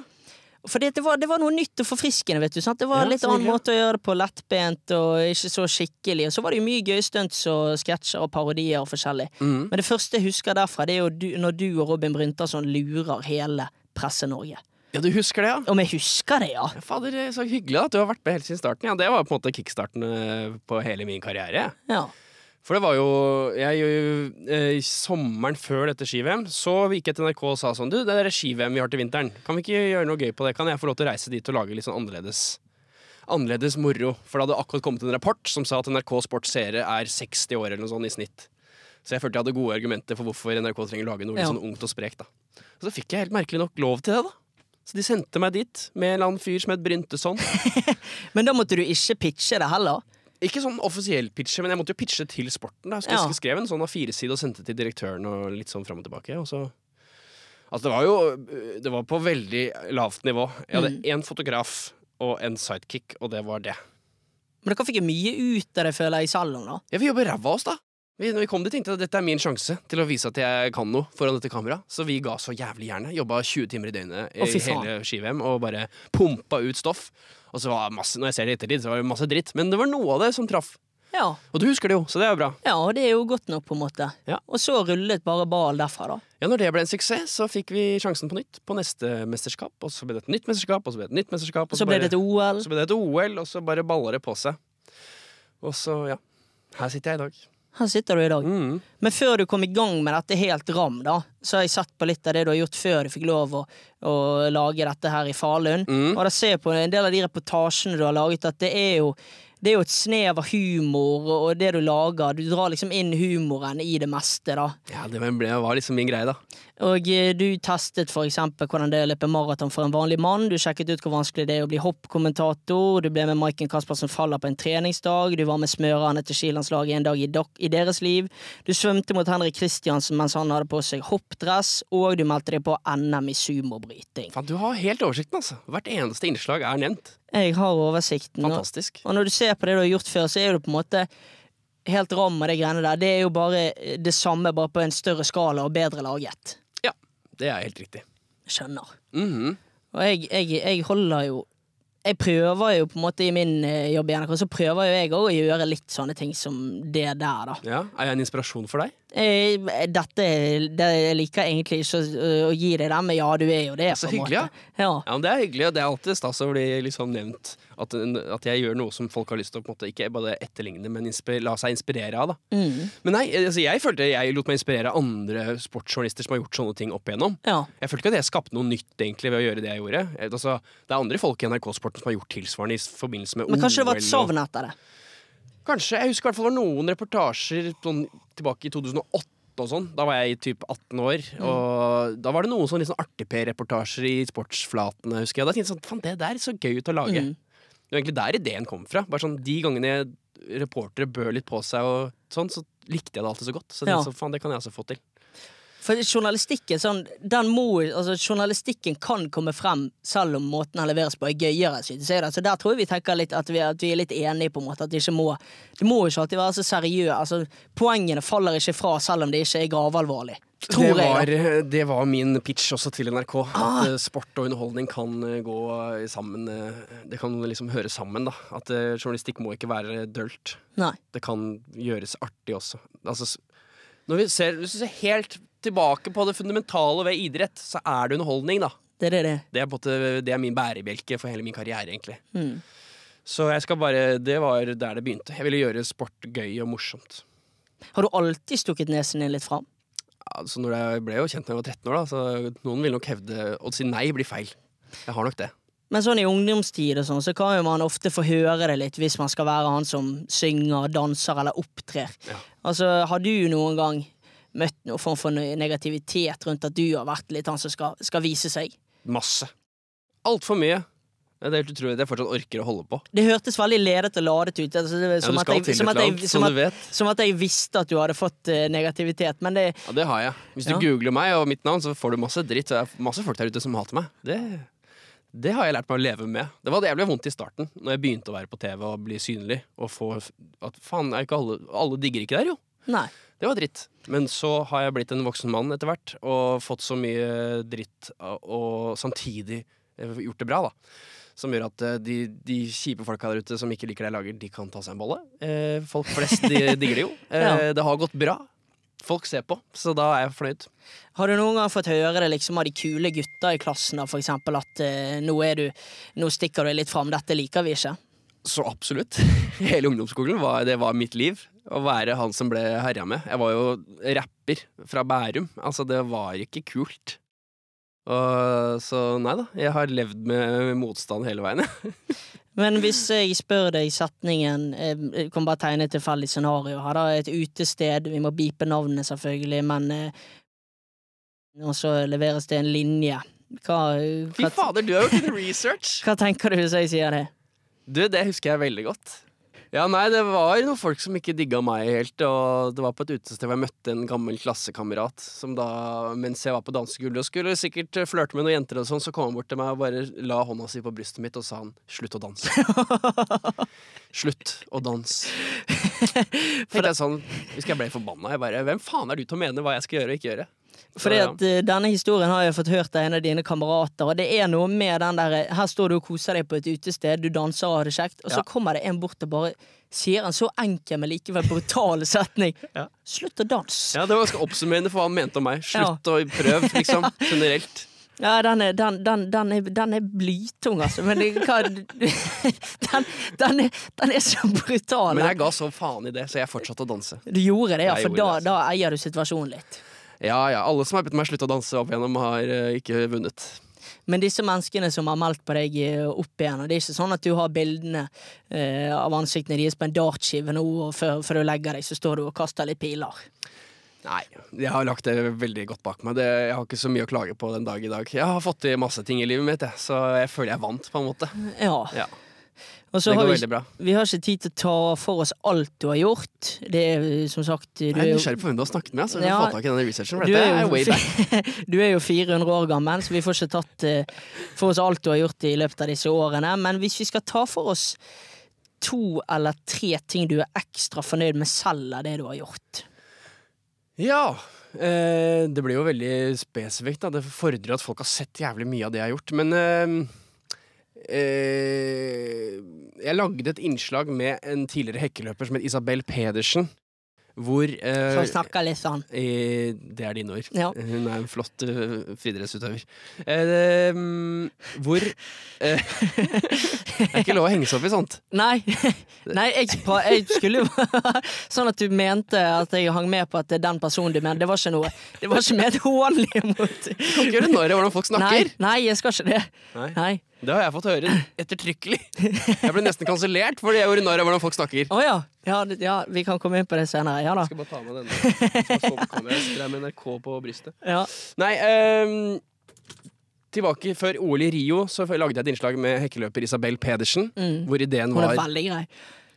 Speaker 2: For det, var, det var noe nytt og forfriskende. vet du sant? Det var
Speaker 1: Ja,
Speaker 2: litt
Speaker 1: så
Speaker 2: annen
Speaker 1: hyggelig.
Speaker 2: måte å gjøre det på. Lettbent og ikke så skikkelig. Og så var det jo mye gøye stunts og sketsjer og parodier og forskjellig.
Speaker 1: Mm.
Speaker 2: Men det første jeg husker derfra, det er jo du, når du og Robin Bryntason lurer hele Presse-Norge.
Speaker 1: Ja, du husker det, ja?
Speaker 2: Om jeg husker det, ja!
Speaker 1: Ja, Fader, så hyggelig at du har vært med helt siden starten. Ja, det var på en måte kickstarten eh, på hele min karriere.
Speaker 2: ja.
Speaker 1: For det var jo jeg, eh, Sommeren før dette ski-VM så gikk jeg til NRK og sa sånn Du, det er ski-VM vi har til vinteren. Kan vi ikke gjøre noe gøy på det? Kan jeg få lov til å reise dit og lage litt sånn annerledes Annerledes moro? For det hadde akkurat kommet en rapport som sa at NRK Sports seere er 60 år eller noe sånt i snitt. Så jeg følte jeg hadde gode argumenter for hvorfor NRK trenger å lage noe litt
Speaker 2: Ja.
Speaker 1: sånn ungt og sprekt. da Så da fikk jeg helt merkelig nok lov til det, da. Så de sendte meg dit med en eller annen fyr som het Brynteson.
Speaker 2: Men da måtte du ikke pitche det heller.
Speaker 1: Ikke sånn offisiell pitche, men jeg måtte jo pitche til sporten. da Jeg
Speaker 2: Ja.
Speaker 1: skulle skrev en sånn av fire sider og sendte til direktøren og litt sånn fram og tilbake. Og så Altså, det var jo Det var på veldig lavt nivå. Jeg hadde
Speaker 2: Mm.
Speaker 1: én fotograf og en sidekick, og det var det.
Speaker 2: Men dere fikk jo mye ut av det, føler jeg, i salon. da.
Speaker 1: Ja, vi jobber ræva av oss, da. Vi, når vi kom dit, tenkte jeg at dette er min sjanse til å vise at jeg kan noe foran dette kameraet. Så vi ga så jævlig jernet. Jobba 20 timer i døgnet i
Speaker 2: Å, fy faen.
Speaker 1: hele ski-VM og bare pumpa ut stoff. Og så var det masse, når jeg ser det i ettertid, så var det masse dritt. Men det var noe av det som traff.
Speaker 2: Ja.
Speaker 1: Og du husker det jo, så det er jo bra.
Speaker 2: ja, og det er jo godt nok, på en måte.
Speaker 1: Ja.
Speaker 2: Og så rullet bare ballen derfra, da.
Speaker 1: Ja, når det ble en suksess, så fikk vi sjansen på nytt på neste mesterskap. Og så ble det et nytt mesterskap, og så ble det et nytt mesterskap.
Speaker 2: Og så ble
Speaker 1: bare-
Speaker 2: det til OL.
Speaker 1: så ble det et OL, og så bare baller det på seg. Og så, ja. Her sitter jeg i dag.
Speaker 2: Her sitter du i dag.
Speaker 1: Mm.
Speaker 2: Men før du kom i gang med dette helt ram, da, så har jeg sett på litt av det du har gjort før du fikk lov å, å lage dette her i Falun.
Speaker 1: Mm.
Speaker 2: Og da ser jeg på en del av de reportasjene du har laget, at det er jo det er jo et snev av humor og og det du lager. Du drar liksom inn humoren i det meste, da.
Speaker 1: Ja, det ble- var liksom min greie, da.
Speaker 2: Og eh, du testet for eksempel hvordan det er å løpe maraton for en vanlig mann. Du sjekket ut hvor vanskelig det er å bli hoppkommentator. Du ble med Maiken Caspersen Faller på en treningsdag. Du var med smørerne til skilandslaget en dag i, dok i deres liv. Du svømte mot Henrik Kristiansen mens han hadde på seg hoppdress. Og du meldte deg på NM i sumobryting.
Speaker 1: Faen, du har helt oversikten, altså. Hvert eneste innslag er nevnt.
Speaker 2: Jeg har oversikten. og-
Speaker 1: Fantastisk.
Speaker 2: Og når du ser på det du har gjort før, så er du på en måte helt ram med de greiene der. Det er jo bare eh, det samme, bare på en større skala og bedre laget.
Speaker 1: Ja, det er helt riktig.
Speaker 2: Skjønner.
Speaker 1: Mhm.
Speaker 2: Og jeg, jeg, jeg holder jo Jeg prøver jo på en måte i min eh, jobb i NRK, så prøver jo jeg òg å gjøre litt sånne ting som det der, da.
Speaker 1: ja. Er jeg en inspirasjon for deg?
Speaker 2: Eh, Dette det jeg liker jeg egentlig ikke å, å gi deg den, men ja, du er jo det,
Speaker 1: Så
Speaker 2: på en
Speaker 1: hyggelig,
Speaker 2: måte. Ja.
Speaker 1: Ja, men Det er hyggelig, og det er alltid stas å bli liksom nevnt. At, at jeg gjør noe som folk har lyst til å på en måte, ikke bare etterligne, men inspi- la seg inspirere av. da.
Speaker 2: Mm.
Speaker 1: Men nei, altså jeg følte jeg lot meg inspirere av andre sportsjournalister som har gjort sånne ting opp igjennom.
Speaker 2: ja.
Speaker 1: Jeg følte ikke at jeg skapte noe nytt egentlig ved å gjøre det jeg gjorde. Eh, Altså, det er andre folk i NRK-sporten som har gjort tilsvarende i s- forbindelse med
Speaker 2: Men kanskje det var
Speaker 1: OL
Speaker 2: et
Speaker 1: og-
Speaker 2: savn etter det.
Speaker 1: Kanskje. Jeg husker i hvert fall det var noen reportasjer sånn, tilbake i 2008. Og sånn. Da var jeg i typ 18 år,
Speaker 2: Mm.
Speaker 1: og da var det noen sånn, litt sånn artig-P-reportasjer i sportsflatene. husker jeg. Da tenkte jeg sånn, faen, det der er så gøy ut å lage.
Speaker 2: Mm.
Speaker 1: Det var egentlig der ideen kom fra. Bare sånn, De gangene reportere bød litt på seg, og sånn, så likte jeg det alltid så godt. Så jeg
Speaker 2: Ja.
Speaker 1: tenkte sånn, faen, det kan jeg også få til.
Speaker 2: For journalistikken sånn, den må, altså, journalistikken kan komme frem selv om måten den leveres på er gøyere. Synes jeg da. Så der tror jeg vi tenker litt at vi, at vi er litt enige, på en måte. At det ikke må Det må ikke alltid være så seriøst. Altså, poengene faller ikke fra selv om det ikke er gravalvorlig.
Speaker 1: Det
Speaker 2: Tror
Speaker 1: var,
Speaker 2: jeg. da.
Speaker 1: det var min pitch også til NRK.
Speaker 2: Ah.
Speaker 1: At eh, sport og underholdning kan eh, gå eh, sammen. eh, Det kan liksom høre sammen, da. At eh, journalistikk må ikke være dølt.
Speaker 2: Nei.
Speaker 1: Det kan gjøres artig også. Altså, s- når vi ser, hvis du ser helt tilbake på det fundamentale ved idrett, så er det underholdning, da.
Speaker 2: Det er det det er.
Speaker 1: Det er, på en måte, det er min bærebjelke for hele min karriere, egentlig.
Speaker 2: Hmm.
Speaker 1: Så jeg skal bare, det var der det begynte. Jeg ville gjøre sport gøy og morsomt.
Speaker 2: Har du alltid stukket nesen din litt fram?
Speaker 1: Altså når jeg ble jo kjent da jeg var 13 år, da, så noen vil nok hevde å si nei blir feil. Jeg har nok det.
Speaker 2: Men sånn i ungdomstid og sånn, så kan jo man ofte få høre det litt hvis man skal være han som synger, danser eller opptrer. Altså, har du noen gang møtt noen form for negativitet rundt at du har vært litt han som skal, skal vise seg?
Speaker 1: Masse. Altfor mye. Det er helt utrolig at jeg fortsatt orker å holde på.
Speaker 2: Det hørtes veldig ledet og ladet ut. Altså, det,
Speaker 1: Ja,
Speaker 2: som,
Speaker 1: du
Speaker 2: at
Speaker 1: skal
Speaker 2: jeg,
Speaker 1: til
Speaker 2: som,
Speaker 1: et
Speaker 2: at
Speaker 1: eller annet,
Speaker 2: jeg, som,
Speaker 1: som du
Speaker 2: at,
Speaker 1: vet.
Speaker 2: som at jeg visste at du hadde fått eh, negativitet, men det
Speaker 1: Ja, det har jeg. Hvis du
Speaker 2: Ja.
Speaker 1: googler meg og mitt navn, så får du masse dritt. Det er masse folk der ute som hater meg. Det, det har jeg lært meg å leve med. Det var jævlig vondt i starten, når jeg begynte å være på TV og bli synlig. Og få at faen, er ikke alle, alle digger ikke der, jo.
Speaker 2: Nei.
Speaker 1: Det var dritt. Men så har jeg blitt en voksen mann etter hvert og fått så mye dritt og samtidig eh, gjort det bra, da. Som gjør at eh, de, de kjipe folka der ute som ikke liker det jeg lager, de kan ta seg en bolle. Eh, folk flest de, digger det jo. Eh, Det har gått bra. Folk ser på, så da er jeg fornøyd.
Speaker 2: Har du noen gang fått høre det liksom av de kule gutta i klassen da, for eksempel, at eh, nå, er du, nå stikker du litt fram, dette liker vi ikke?
Speaker 1: Så absolutt. [laughs] Hele ungdomsskolen var, det var mitt liv. Å være han som ble herja med. Jeg var jo rapper fra Bærum. Altså, det var ikke kult. Og, så nei da, jeg har levd med motstand hele veien. [laughs] jeg.
Speaker 2: Men hvis jeg spør deg setningen eh, Jeg kan bare tegne et tilfeldig scenario her, da. Et utested, vi må bipe navnet selvfølgelig, men eh, Og så leveres det en linje. Hva,
Speaker 1: Fy
Speaker 2: hva,
Speaker 1: fader, du har gjort din research!
Speaker 2: hva tenker du hvis jeg sier det?
Speaker 1: Du, det husker jeg veldig godt. Ja, nei, det var noen folk som ikke digga meg helt, og det var på et utested hvor jeg møtte en gammel klassekamerat som da, mens jeg var på dansegulvet og skulle sikkert flørte med noen jenter og sånn, så kom han bort til meg og bare la hånda si på brystet mitt og sa han 'slutt å danse'. Slutt å danse. For det er sånn, husker jeg ble forbanna. Jeg bare 'hvem faen er du til å mene hva jeg skal gjøre og ikke gjøre'? Så,
Speaker 2: Fordi
Speaker 1: ja.
Speaker 2: at eh, Denne historien har jeg fått hørt av en av dine kamerater. Og det er noe med den der eh, Her står du og koser deg på et utested, du danser og har det kjekt, og
Speaker 1: Ja.
Speaker 2: så kommer det en bort og bare sier en så enkel, men likevel brutal setning.
Speaker 1: Ja.
Speaker 2: Slutt å danse! Ja.
Speaker 1: Ja, det var ganske oppsummerende for hva han mente om meg. Slutt å prøve, liksom. Generelt.
Speaker 2: den er, den, den, den er, den er blytung, altså. Men det- hva [laughs] den, den, er, den er så brutal.
Speaker 1: Men jeg ga så faen i det, så jeg fortsatte å danse.
Speaker 2: Du gjorde det, ja,
Speaker 1: Jeg
Speaker 2: for
Speaker 1: gjorde
Speaker 2: da,
Speaker 1: det, altså.
Speaker 2: da eier du situasjonen litt.
Speaker 1: Ja, ja, alle som har bedt meg slutte å danse opp igjennom, har eh, ikke vunnet.
Speaker 2: Men disse menneskene som har meldt på deg eh, opp igjen, og det er ikke sånn at du har bildene eh, av ansiktene deres på en dartskive nå, og før, før du legger deg, så står du og kaster litt piler.
Speaker 1: Nei, jeg har lagt det veldig godt bak meg. Det, jeg har ikke så mye å klage på den dag i dag. Jeg har fått til masse ting i livet mitt, jeg, så jeg føler jeg vant, på en måte.
Speaker 2: Ja.
Speaker 1: Ja,
Speaker 2: Og så
Speaker 1: Det
Speaker 2: har
Speaker 1: går
Speaker 2: vi,
Speaker 1: veldig bra.
Speaker 2: vi har ikke tid til å ta for oss alt du har gjort. Det er eh, som sagt du
Speaker 1: Jeg er
Speaker 2: jo-
Speaker 1: nysgjerrig på hvem du har snakket med. Så vi
Speaker 2: Ja,
Speaker 1: får få tak i denne researchen, for
Speaker 2: du
Speaker 1: dette
Speaker 2: er,
Speaker 1: er way back.
Speaker 2: jo, [laughs] du er jo 400 år gammel, så vi får ikke tatt eh, for oss alt du har gjort i løpet av disse årene. Men hvis vi skal ta for oss to eller tre ting du er ekstra fornøyd med selv av det du har gjort.
Speaker 1: Ja. Eh, det blir jo veldig spesifikt. Da. Det fordrer at folk har sett jævlig mye av det jeg har gjort. Men eh, eh, jeg lagde et innslag med en tidligere hekkeløper som het Isabel Pedersen. Hvor eh,
Speaker 2: Så snakker litt sånn.
Speaker 1: eh, Det er dine ord.
Speaker 2: Ja.
Speaker 1: Hun er en flott eh, friidrettsutøver. Eh, mm, hvor eh, [laughs] Det er ikke lov å henge seg opp i sånt.
Speaker 2: Nei, [laughs] Nei jeg, pa- jeg skulle jo [laughs] Sånn at du mente at jeg hang med på at det er den personen du mener. Det var ikke noe Det var ikke ment hånlig mot
Speaker 1: Du kan ikke gjøre narr av hvordan folk
Speaker 2: nei,
Speaker 1: snakker.
Speaker 2: nei, jeg skal ikke det.
Speaker 1: Nei.
Speaker 2: Nei.
Speaker 1: Det har jeg fått høre ettertrykkelig. Jeg ble nesten kansellert fordi jeg gjorde narr av hvordan folk snakker.
Speaker 2: Å ja. Ja, det- ja. Vi kan komme inn på det senere. Ja da.
Speaker 1: Jeg skal bare ta med denne. Så så kommer jeg Det er med NRK på brystet.
Speaker 2: Ja.
Speaker 1: Nei, ehm, tilbake før OL i Rio så lagde jeg et innslag med hekkeløper Isabel Pedersen. Hvor ideen
Speaker 2: Mm. Hun
Speaker 1: var
Speaker 2: er veldig grei.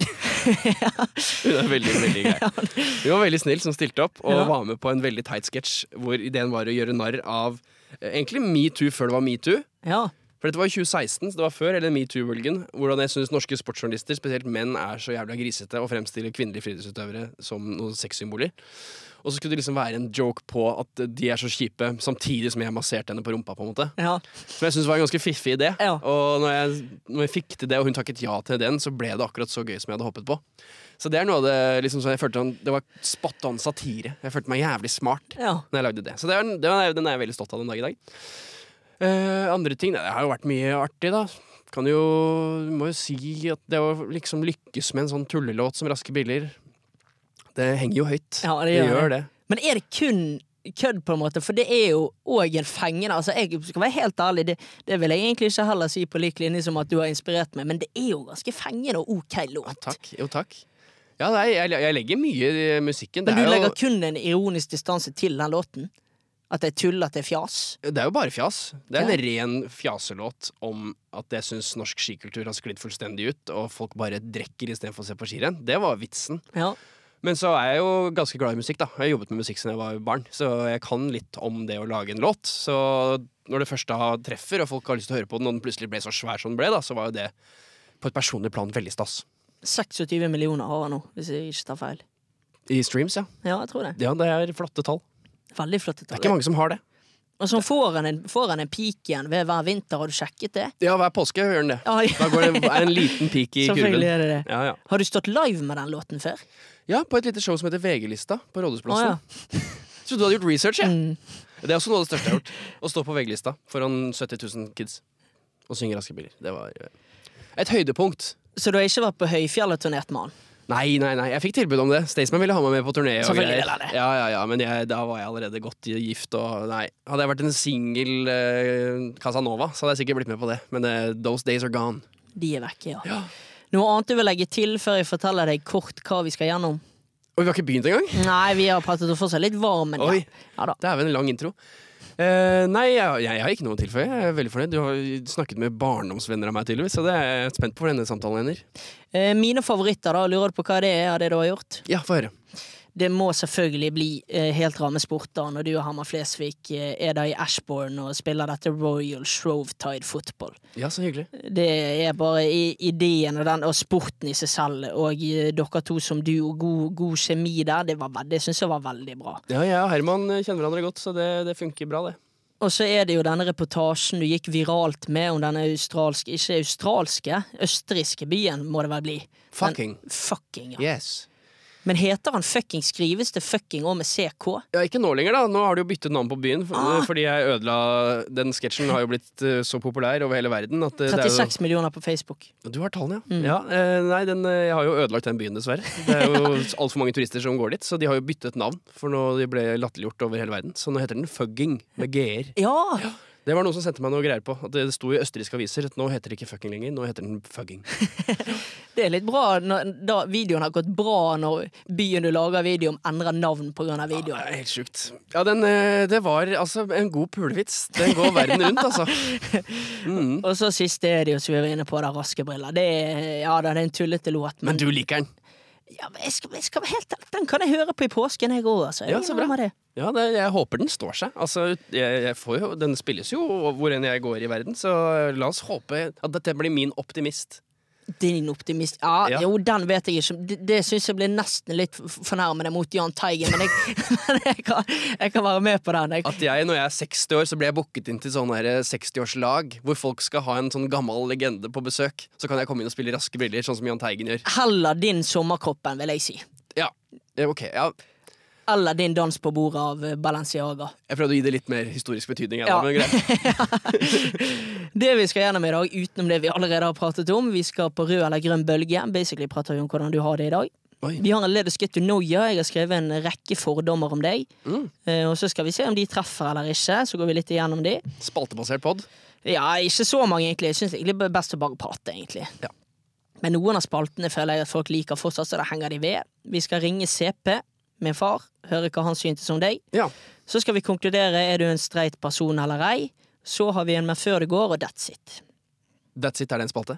Speaker 1: [laughs] Hun er veldig, veldig
Speaker 2: [laughs]
Speaker 1: grei. Hun var veldig snill som stilte opp, og
Speaker 2: Ja.
Speaker 1: var med på en veldig teit sketsj hvor ideen var å gjøre narr av eh, egentlig metoo før det var metoo.
Speaker 2: Ja.
Speaker 1: For dette var i 2016, så det var før hele metoo-bølgen. Hvordan jeg syns norske sportsjournalister, spesielt menn, er så jævla grisete og fremstiller kvinnelige friidrettsutøvere som noen sexsymboler. Og så skulle det liksom være en joke på at de er så kjipe, samtidig som jeg masserte henne på rumpa. på en måte
Speaker 2: ja.
Speaker 1: Som jeg syns var en ganske fiffig idé.
Speaker 2: Ja.
Speaker 1: Og når jeg, når jeg fikk til det, og hun takket ja til den, så ble det akkurat så gøy som jeg hadde håpet på. Så det er noe av det liksom, sånn, jeg følte sånn, Det var spot on satire. Jeg følte meg jævlig smart
Speaker 2: ja.
Speaker 1: når jeg lagde det. Så det er, det er, den er jeg veldig stolt av den dag i dag. Eh, andre ting Det har jo vært mye artig, da. Kan jo, må jo si at det å liksom lykkes med en sånn tullelåt som Raske biler, det henger jo høyt.
Speaker 2: Ja, det gjør
Speaker 1: gjør det.
Speaker 2: Men er det kun kødd, på en måte? For det er jo òg en fengende altså, Jeg skal være helt ærlig, det, det vil jeg egentlig ikke heller si på lik linje som at du har inspirert meg, men det er jo ganske fengende og ok
Speaker 1: Ja,
Speaker 2: låt.
Speaker 1: takk. Jo, takk. Ja, nei, jeg, jeg legger mye i musikken.
Speaker 2: Men
Speaker 1: det,
Speaker 2: du
Speaker 1: er
Speaker 2: legger
Speaker 1: jo,
Speaker 2: kun en ironisk distanse til den låten? At det er tull, at det er fjas?
Speaker 1: det er jo bare fjas. Det er
Speaker 2: Ja.
Speaker 1: en ren fjaselåt om at jeg syns norsk skikultur har sklidd fullstendig ut, og folk bare drikker istedenfor å se på skirenn. Det var vitsen.
Speaker 2: Ja.
Speaker 1: Men så er jeg jo ganske glad i musikk, da. Jeg har jobbet med musikk siden jeg var barn, så jeg kan litt om det å lage en låt. Så når det første treffer, og folk har lyst til å høre på den, og den plutselig ble så svær som den ble, da, så var jo det på et personlig plan veldig stas.
Speaker 2: 26 millioner har han nå, hvis jeg ikke tar feil.
Speaker 1: I streams, ja.
Speaker 2: Ja, jeg tror det.
Speaker 1: Ja, det er flotte tall.
Speaker 2: Veldig flott.
Speaker 1: Det er ikke mange som har det.
Speaker 2: Og så får han en, får han en peak igjen ved hver vinter. Har du sjekket det?
Speaker 1: Ja, hver påske gjør den det.
Speaker 2: Ja,
Speaker 1: Da
Speaker 2: [laughs]
Speaker 1: går det, er det en liten peak i kurven.
Speaker 2: Selvfølgelig er det det.
Speaker 1: Ja, ja.
Speaker 2: Har du stått live med den låten før?
Speaker 1: ja, på et lite show som heter VG-lista på
Speaker 2: Å
Speaker 1: Rådhusplassen.
Speaker 2: ja.
Speaker 1: Trodde du hadde gjort research, jeg.
Speaker 2: Mm.
Speaker 1: Det er også noe av det største jeg har gjort. Å stå på VG-lista foran 70 000 kids og synge Raske biler. Det var eh, et høydepunkt.
Speaker 2: Så du har ikke vært på Høyfjellet og turnert med han?
Speaker 1: Nei, nei, nei, jeg fikk tilbud om det. Staysman ville ha meg med på turné. og
Speaker 2: Selvfølgelig
Speaker 1: greier.
Speaker 2: ville han det.
Speaker 1: Ja, ja, ja, Men jeg, da var jeg allerede godt gift. Og, nei. Hadde jeg vært en singel eh, Casanova, så hadde jeg sikkert blitt med på det. Men eh, those days are gone.
Speaker 2: De er vekke, ja. Noe annet du vil legge til før jeg forteller deg kort hva vi skal gjennom?
Speaker 1: Og vi har ikke begynt engang!
Speaker 2: Nei, vi har pratet oss fortsatt litt varm, men ja.
Speaker 1: Oi.
Speaker 2: ja da.
Speaker 1: Det er vel en lang intro. Eh, nei, jeg, jeg, har ikke noe å tilføye. Jeg er veldig fornøyd. Du har snakket med barndomsvenner av meg, tydeligvis, så det er jeg spent på hvor denne samtalen ender.
Speaker 2: Eh, Mine favoritter, da. Lurer du på hva det er av det du har gjort?
Speaker 1: Ja, få høre.
Speaker 2: Det må selvfølgelig bli eh, helt rammesport da når du og Hamar Flesvig eh, er da i Ashbourne og spiller dette Royal Shrovetide Football.
Speaker 1: Ja, så hyggelig.
Speaker 2: Det er bare i- ideen og, den, og sporten i seg selv, og eh, dere to som du og god, god kjemi der, det, var veld- det syns jeg var veldig bra.
Speaker 1: Ja, jeg og Herman kjenner hverandre godt, så det, det funker bra, det.
Speaker 2: Og så er det jo denne reportasjen du gikk viralt med om denne australske, ikke australske, østerrikske byen, må det vel bli.
Speaker 1: Fucking.
Speaker 2: Men, fucking, ja.
Speaker 1: Yes.
Speaker 2: Men heter han fucking, skrives det fucking òg med CK?
Speaker 1: Ja, Ikke nå lenger, da. Nå har de jo byttet navn på byen. For, Fordi jeg ødela Den sketsjen har jo blitt eh, så populær over hele verden at eh, det er jo-
Speaker 2: 36 millioner på Facebook.
Speaker 1: Du har tallene, ja. ja eh, nei, den, eh, jeg har jo ødelagt den byen, dessverre. Det er jo [laughs] altfor mange turister som går dit, så de har jo byttet navn. For nå de ble latterliggjort over hele verden. Så nå heter den Fugging, med GR.
Speaker 2: Ja!
Speaker 1: Det var noen som sendte meg noe greier på. At det sto i østerrikske aviser at nå heter det ikke fucking lenger, nå heter den fugging.
Speaker 2: Det er litt bra når da videoen har gått bra når byen du lager video om, endrer navn pga.
Speaker 1: Det
Speaker 2: videoen.
Speaker 1: er helt sjukt. Ja, den, eh, det var altså en god pulevits. Den går verden rundt, altså. Mm.
Speaker 2: Og så siste er det jo som vi var inne på, da, Raske briller. Det er, ja, da, det er en tullete låt, men,
Speaker 1: Men du liker den.
Speaker 2: ja, men jeg skal, jeg skal være helt ærlig, den kan jeg høre på i påsken, jeg òg. Altså. Jeg
Speaker 1: Ja, så bra.
Speaker 2: innrømmer det.
Speaker 1: Ja, det, jeg håper den står seg. Altså, jeg, jeg får jo, den spilles jo hvor enn jeg går i verden, så la oss håpe at dette blir min optimist.
Speaker 2: Din optimist ja,
Speaker 1: Ja.
Speaker 2: Jo, den vet jeg ikke. Det, det syns jeg blir nesten litt f- fornærmende mot Jahn Teigen, men, jeg, [laughs] men jeg, kan, jeg kan være med på den. Jeg,
Speaker 1: At jeg, når jeg er 60 år, så blir jeg booket inn til sånne her 60-årslag, hvor folk skal ha en sånn gammel legende på besøk. Så kan jeg komme inn og spille Raske briller, sånn som Jahn Teigen gjør.
Speaker 2: heller din Sommerkroppen, vil jeg si.
Speaker 1: Ja, eh, ok. Ja.
Speaker 2: Eller din Dans på bordet av eh, Balenciaga.
Speaker 1: Jeg prøvde å gi det litt mer historisk betydning. jeg,
Speaker 2: Ja.
Speaker 1: Da, men greit. [laughs]
Speaker 2: Det vi skal gjennom i dag, utenom det vi allerede har pratet om, vi skal på rød eller grønn bølge. Basically prater vi om hvordan du har det i dag.
Speaker 1: Oi.
Speaker 2: Vi har en Let us get to know you. Jeg har skrevet en rekke fordommer om deg.
Speaker 1: Mm.
Speaker 2: Eh, Og så skal vi se om de treffer eller ikke. Så går vi litt igjennom de.
Speaker 1: Spaltebasert pod.
Speaker 2: Ja, ikke så mange, egentlig. Jeg syns egentlig det er best å bare prate, egentlig.
Speaker 1: Ja.
Speaker 2: Men noen av spaltene føler jeg at folk liker fortsatt, så da henger de ved. Vi skal ringe CP, min far, høre hva han syntes om deg.
Speaker 1: Ja.
Speaker 2: Så skal vi konkludere er du en streit person eller ei. Så har vi en med før det går, og that's it. [laughs]
Speaker 1: That's it, er det en spalte?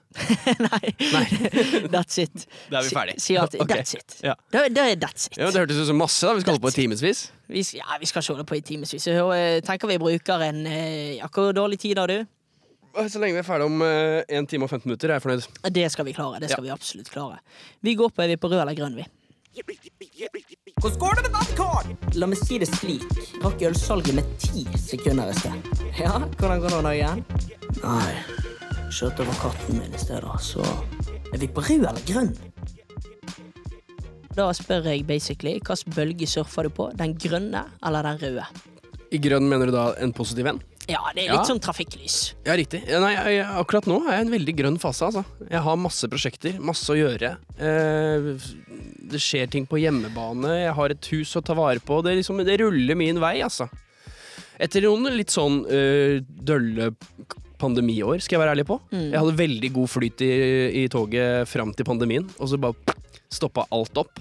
Speaker 2: Nei. [laughs] that's it.
Speaker 1: Da er vi ferdig.
Speaker 2: Si- Sier
Speaker 1: [laughs]
Speaker 2: alltid
Speaker 1: Ok.
Speaker 2: 'that's it'.
Speaker 1: Ja.
Speaker 2: Da, da er that's it.
Speaker 1: Ja, Det hørtes ut som masse. da, Vi skal holde på i timevis.
Speaker 2: Vi, s- ja, vi skal ikke holde på i timevis. Jeg eh, tenker vi bruker en eh, ja, Hvor dårlig tid har du?
Speaker 1: Så lenge vi er ferdig om eh, 1 time og 15 minutter, er jeg fornøyd.
Speaker 2: Det skal vi klare. det skal vi absolutt klare. Vi går på er vi på rød eller grønn, vi.
Speaker 7: Hvordan går det med badekar?
Speaker 2: La meg si det slik. Rakk ølsalget med ti sekunder i sted. Ja, hvordan går det nå igjen? Nei, skjøt over katten min i sted, da, så Er vi på rød eller grønn? Da spør jeg basically hvilken bølge surfer du på? Den grønne eller den røde?
Speaker 1: I grønn mener du da en positiv en?
Speaker 2: Ja, det er
Speaker 1: Ja.
Speaker 2: litt sånn trafikklys.
Speaker 1: Ja, riktig. Ja, Nei, jeg, jeg- akkurat nå er jeg i en veldig grønn fase. Altså. Jeg har masse prosjekter, masse å gjøre. Eh, det skjer ting på hjemmebane, jeg har et hus å ta vare på. Det, er liksom, det ruller min vei, altså. Etter noen litt sånn eh, dølle k- pandemiår, skal jeg være ærlig på. Jeg hadde veldig god flyt i, i toget fram til pandemien, og så bare stoppa alt opp.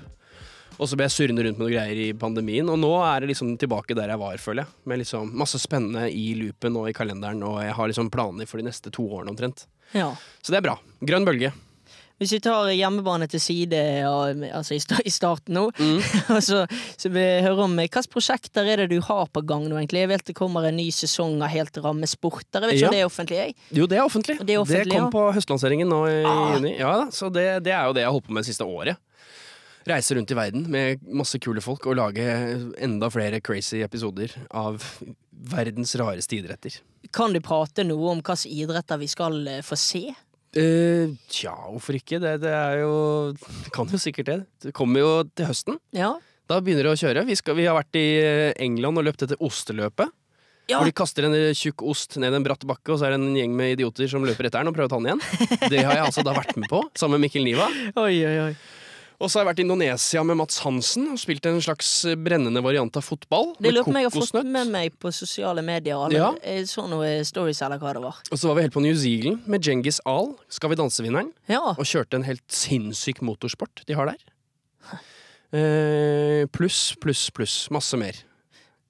Speaker 1: Og så ble jeg surrende rundt med noen greier i pandemien, og nå er det liksom tilbake der jeg var, føler jeg. Med liksom masse spennende i loopen og i kalenderen, og jeg har liksom planer for de neste to årene omtrent.
Speaker 2: Ja.
Speaker 1: Så det er bra. Grønn bølge.
Speaker 2: Hvis vi tar hjemmebane til side ja, altså i, sta i starten nå,
Speaker 1: Mm.
Speaker 2: [laughs] og så, så vi hører om eh, hvilke prosjekter er det du har på gang nå, egentlig? Jeg vet det kommer en ny sesong av Helt ramme sporter. Jeg vet ikke
Speaker 1: Ja.
Speaker 2: om det er offentlig, jeg.
Speaker 1: Jo, det er offentlig.
Speaker 2: Det er offentlig,
Speaker 1: kom
Speaker 2: ja. Ah.
Speaker 1: på høstlanseringen nå i juni. Ja da, Så det, det er jo det jeg har holdt på med det siste året. reise rundt i verden med masse kule folk og lage enda flere crazy episoder av verdens rareste idretter.
Speaker 2: Kan du prate noe om hvilke idretter vi skal eh, få se?
Speaker 1: Eh, tja, hvorfor ikke? Det, det er jo Kan jo sikkert det. Det kommer jo til høsten.
Speaker 2: Ja.
Speaker 1: Da begynner det å kjøre. Vi, skal, vi har vært i eh, England og løpt etter osteløpet.
Speaker 2: Ja.
Speaker 1: Hvor de kaster en eh, tjukk ost ned en bratt bakke, og så er det en gjeng med idioter som løper etter den og prøver å ta den igjen. Det har jeg altså da vært med på, sammen med Mikkel Niva.
Speaker 2: Oi, oi, oi.
Speaker 1: Og så har jeg vært i Indonesia med Mats Hansen og spilt en slags brennende variant av fotball.
Speaker 2: Det
Speaker 1: med
Speaker 2: lurer på om jeg har fått
Speaker 1: kokosnøtt.
Speaker 2: med meg på sosiale medier. Alle.
Speaker 1: Ja.
Speaker 2: Jeg så noen stories eller hva det var.
Speaker 1: Og så var vi helt på New Zealand med Djengis Ahl, Skal vi danse-vinneren,
Speaker 2: Ja.
Speaker 1: og kjørte en helt sinnssyk motorsport de har der. Eh, pluss, pluss, pluss. Masse mer.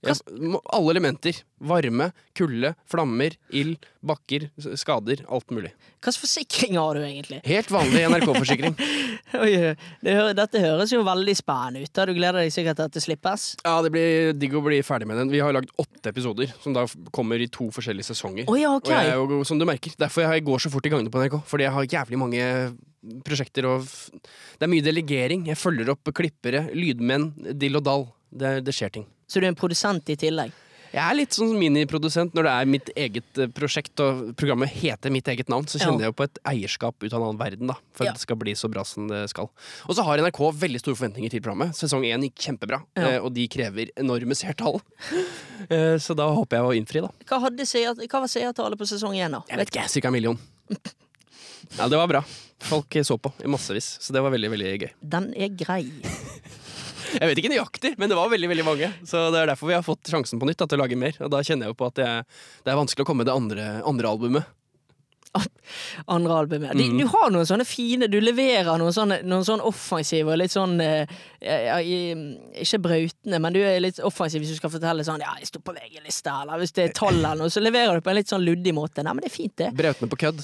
Speaker 1: Ja, må- alle elementer. Varme, kulde, flammer, ild, bakker, s- skader. Alt mulig.
Speaker 2: Hvilke forsikringer har du egentlig?
Speaker 1: Helt vanlig NRK-forsikring.
Speaker 2: [laughs] Oi, oi. Det hø- dette høres jo veldig spennende ut. da. Du gleder deg sikkert til at det slippes.
Speaker 1: Ja, Det blir digg å bli ferdig med den. Vi har lagd åtte episoder, som da f- kommer i to forskjellige sesonger.
Speaker 2: Å ja, ok.
Speaker 1: Og jeg er jo, som du merker, Derfor jeg går så fort i gangene på NRK. Fordi jeg har jævlig mange prosjekter. Og f det er mye delegering. Jeg følger opp klippere, lydmenn, dill og dall. Det, det skjer ting.
Speaker 2: Så du er en produsent i tillegg.
Speaker 1: Jeg er litt sånn miniprodusent når det er mitt eget eh, prosjekt, og programmet heter mitt eget navn. Så kjenner
Speaker 2: Ja.
Speaker 1: jeg jo på et eierskap ut av en annen verden, da. For
Speaker 2: Ja.
Speaker 1: at det skal bli så bra som det skal. Og så har NRK veldig store forventninger til programmet. Sesong én gikk kjempebra,
Speaker 2: Ja.
Speaker 1: eh, og de krever enorme seertall. [laughs] Eh, Så da håper jeg å innfri, da.
Speaker 2: Hva, hadde seer, hva var seertallet på sesong én, da?
Speaker 1: Jeg vet ikke, cirka en million. Ja, det var bra. Folk så på i massevis, så det var veldig veldig gøy.
Speaker 2: Den er grei. [laughs]
Speaker 1: Jeg vet ikke nøyaktig, men det var veldig veldig mange. Så det er derfor vi har fått sjansen på nytt da, til å lage mer. Og da kjenner jeg jo på at det er, det er vanskelig å komme med det andre, andre albumet.
Speaker 2: Andre albumet. De, Du har noen sånne fine Du leverer noen sånne, noen sånne offensive og litt sånn eh, ja, i- Ikke brautende, men du er litt offensiv hvis du skal fortelle sånn Ja, jeg sto på VG-lista, eller hvis det er tall eller noe, så leverer du på en litt sånn luddig måte. Nei, men det er fint, det.
Speaker 1: Brautende på kødd.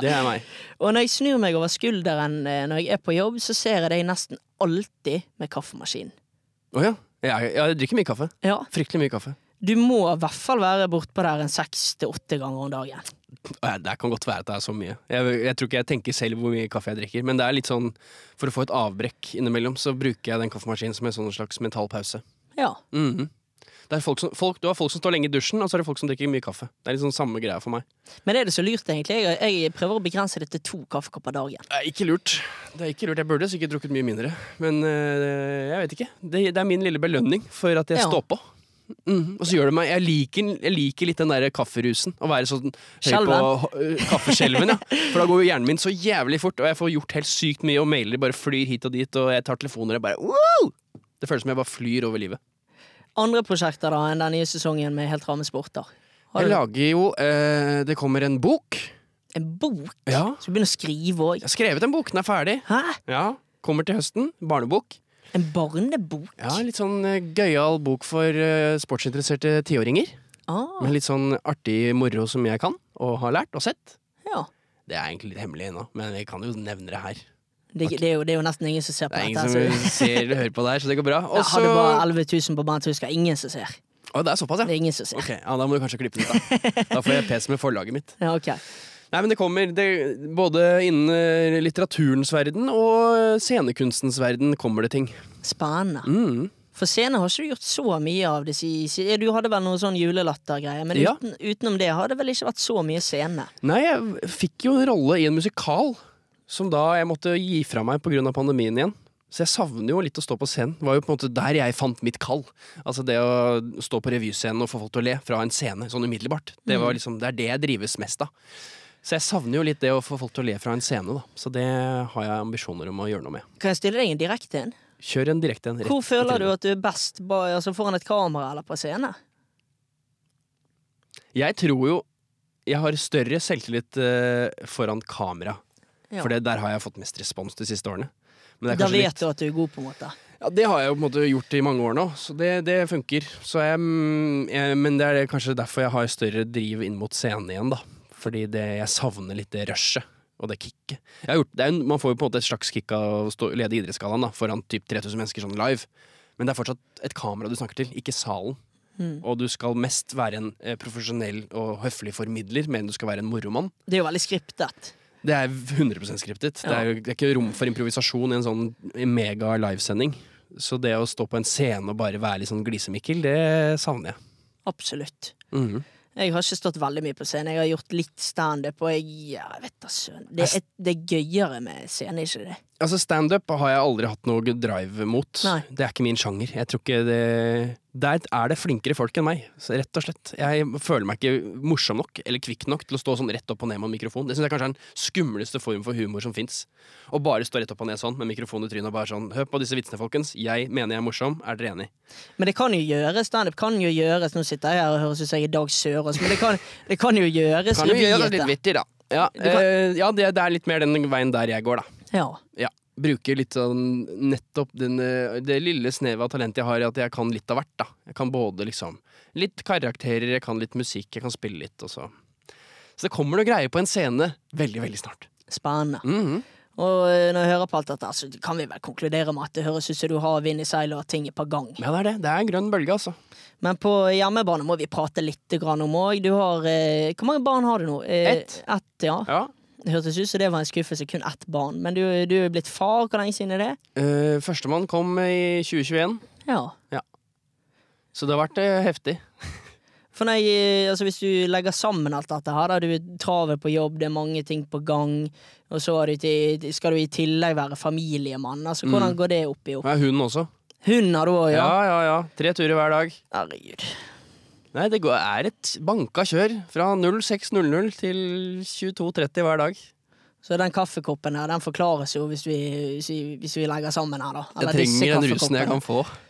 Speaker 1: Det er meg.
Speaker 2: Og når jeg snur meg over skulderen eh, når jeg er på jobb, så ser jeg deg nesten alltid med kaffemaskinen.
Speaker 1: Å ja. Jeg, jeg drikker mye kaffe.
Speaker 2: Ja.
Speaker 1: Fryktelig mye kaffe.
Speaker 2: Du må i hvert fall være bortpå der en seks til åtte ganger om dagen.
Speaker 1: Nei, Det kan godt være at det er så mye. Jeg, jeg tror ikke jeg tenker selv hvor mye kaffe jeg drikker, men det er litt sånn for å få et avbrekk innimellom, så bruker jeg den kaffemaskinen som en sånn slags mental pause.
Speaker 2: Ja.
Speaker 1: Mhm. Det er folk som, folk, du har folk som står lenge i dusjen, og så er det folk som drikker mye kaffe. Det er liksom samme greia for meg.
Speaker 2: Men er det så lurt, egentlig? Jeg, jeg prøver å begrense det til to kaffekopper dagen.
Speaker 1: Det er ikke lurt. Det er ikke lurt. Jeg burde sikkert drukket mye mindre, men eh, jeg vet ikke. Det, det er min lille belønning for at jeg
Speaker 2: Ja.
Speaker 1: står på. Mhm. Og så gjør det meg Jeg liker, jeg liker litt den der kafferusen. Å være sånn høy på
Speaker 2: Skjelven.
Speaker 1: eh, kaffeskjelven, ja. For da går jo hjernen min så jævlig fort, og jeg får gjort helt sykt mye, og mailer bare flyr hit og dit, og jeg tar telefoner og bare wow! Det føles som jeg bare flyr over livet.
Speaker 2: Andre prosjekter da enn den nye sesongen med Helt rame sporter? Har
Speaker 1: Jeg
Speaker 2: du
Speaker 1: lager jo eh, Det kommer en bok.
Speaker 2: en bok?
Speaker 1: Ja.
Speaker 2: Skal du begynne å skrive òg?
Speaker 1: Jeg har skrevet en bok, den er ferdig.
Speaker 2: Hæ?
Speaker 1: Ja, Kommer til høsten. Barnebok.
Speaker 2: En barnebok?
Speaker 1: Ja, Litt sånn eh, gøyal bok for eh, sportsinteresserte tiåringer.
Speaker 2: Ah,
Speaker 1: Med litt sånn artig moro som jeg kan, og har lært og sett.
Speaker 2: ja.
Speaker 1: Det er egentlig litt hemmelig ennå, men vi kan jo nevne det her.
Speaker 2: Det, det, er jo, det er jo nesten ingen som ser på
Speaker 1: Det er
Speaker 2: dette.
Speaker 1: ingen
Speaker 2: så-
Speaker 1: som ser eller hører på det her, så det går bra.
Speaker 2: Ja,
Speaker 1: Og så
Speaker 2: Har du bare 11 000 på bandet, husker jeg. ingen som ser.
Speaker 1: Å, det er såpass,
Speaker 2: Det er
Speaker 1: ja.
Speaker 2: ingen som ser.
Speaker 1: Ok, ja, Da må du kanskje klippe det ut. Da Da får jeg pes med forlaget mitt.
Speaker 2: Ja, ok.
Speaker 1: Nei, men det kommer det, Både innen eh, litteraturens verden og eh, scenekunstens verden kommer det ting.
Speaker 2: Spennende.
Speaker 1: Mm.
Speaker 2: For scene har ikke du gjort så mye av det si- si- Du hadde vel noe sånn julelatter-greier, men
Speaker 1: Ja.
Speaker 2: uten, utenom det har det vel ikke vært så mye scene.
Speaker 1: Nei, jeg fikk jo en rolle i en musikal som da jeg måtte gi fra meg pga. pandemien igjen. Så jeg savner jo litt å stå på scenen. Det var jo på en måte der jeg fant mitt kall. Altså det å stå på revyscenen og få folk til å le fra en scene sånn umiddelbart. Det,
Speaker 2: Mm.
Speaker 1: var liksom, det er det jeg drives mest av. Så jeg savner jo litt det å få folk til å le fra en scene, da. Så det har jeg ambisjoner om å gjøre noe med.
Speaker 2: Kan jeg stille deg en direkte en?
Speaker 1: Kjør en direkte en. rett
Speaker 2: Hvor
Speaker 1: i
Speaker 2: føler du
Speaker 1: trynet.
Speaker 2: at du er best ba- altså foran et kamera eller på scene?
Speaker 1: Jeg tror jo jeg har større selvtillit eh, foran kamera.
Speaker 2: Ja.
Speaker 1: For det, der har jeg fått mest respons de siste årene. Men det er
Speaker 2: Da
Speaker 1: kanskje
Speaker 2: vet
Speaker 1: litt-
Speaker 2: du at du er god, på en måte.
Speaker 1: Ja, Det har jeg jo på en måte gjort i mange år nå, så det, det funker. Så jeg, mm, jeg, men det er kanskje derfor jeg har større driv inn mot scenen igjen, da. Fordi det, jeg savner litt det rushet og det kicket. Jeg har gjort, det er, jo- man får jo på en måte et slags kick av å stå, lede Idrettsgallaen da, foran typ 3000 mennesker sånn live. Men det er fortsatt et kamera du snakker til, ikke salen. Og du skal mest være en eh, profesjonell og høflig formidler, mer enn du skal være en moromann.
Speaker 2: Det er jo veldig skriptet.
Speaker 1: Det er 100 skriptet. Det, er, jo- det er ikke rom for improvisasjon i en sånn mega livesending. Så det å stå på en scene og bare være litt sånn glisemikkel, det savner jeg.
Speaker 2: Absolutt.
Speaker 1: Mhm.
Speaker 2: Jeg har ikke stått veldig mye på scenen. Jeg har gjort litt standup, og jeg, ja, jeg vet da søren. Det, er- det er gøyere med scene, ikke det?
Speaker 1: Altså Standup har jeg aldri hatt noe drive mot.
Speaker 2: Nei.
Speaker 1: Det er ikke min sjanger. Jeg tror ikke det Der er det flinkere folk enn meg, så rett og slett. Jeg føler meg ikke morsom nok eller kvikk nok til å stå sånn rett opp og ned med en mikrofon. Det syns jeg kanskje er den skumleste form for humor som fins. Å bare stå rett opp og ned sånn med mikrofonen i trynet og bare sånn Hør på disse vitsene, folkens. Jeg mener jeg er morsom. Er dere enig?
Speaker 2: Men det kan jo gjøres. Standup kan jo gjøres. Nå sitter jeg her og høres ut som jeg er Dag Sørås, men det kan, det kan jo gjøres.
Speaker 1: Kan jo
Speaker 2: revy
Speaker 1: gjøre det
Speaker 2: etter.
Speaker 1: litt vittig, da. Ja,
Speaker 2: Du kan-
Speaker 1: eh, ja det, det er litt mer den veien der jeg går, da.
Speaker 2: Ja.
Speaker 1: Ja. Bruker litt sånn nettopp den, eh, det lille snevet av talent jeg har, i at jeg kan litt av hvert. da Jeg kan både liksom litt karakterer, jeg kan litt musikk, jeg kan spille litt. Og så. så det kommer noe greier på en scene veldig, veldig snart.
Speaker 2: Spennende.
Speaker 1: Mhm.
Speaker 2: Og eh, når jeg hører på alt dette, så kan vi vel konkludere med at det høres ut som du har vind i seilet og har ting på gang.
Speaker 1: Ja, det er det. Det er en grønn bølge, altså.
Speaker 2: Men på hjemmebane må vi prate litt grann om òg. Du har eh, Hvor mange barn har du nå? Eh,
Speaker 1: Ett.
Speaker 2: Ett, ja.
Speaker 1: Ja.
Speaker 2: Det hørtes ut som det var en skuffelse, kun ett barn. Men du, du er blitt far, hvor lenge siden er det?
Speaker 1: Eh, Førstemann kom i 2021,
Speaker 2: Ja.
Speaker 1: så det har vært eh, heftig.
Speaker 2: For nei, eh, altså Hvis du legger sammen alt dette her, da du er travel på jobb, det er mange ting på gang, og så er du til, skal du i tillegg være familiemann. Altså Hvordan går det opp i opp?
Speaker 1: Og er hunden også.
Speaker 2: Hun har du òg, ja?
Speaker 1: Mm. Ja, ja, ja. Tre turer hver dag.
Speaker 2: Herregud.
Speaker 1: Nei, det går, er et banka kjør fra 06.00 til 22.30 hver dag.
Speaker 2: Så den kaffekoppen her, den forklares jo hvis vi, hvis vi, hvis vi legger sammen her, da.
Speaker 1: Jeg
Speaker 2: Eller disse
Speaker 1: trenger den rusen jeg
Speaker 2: kaffekoppene.
Speaker 1: kan få.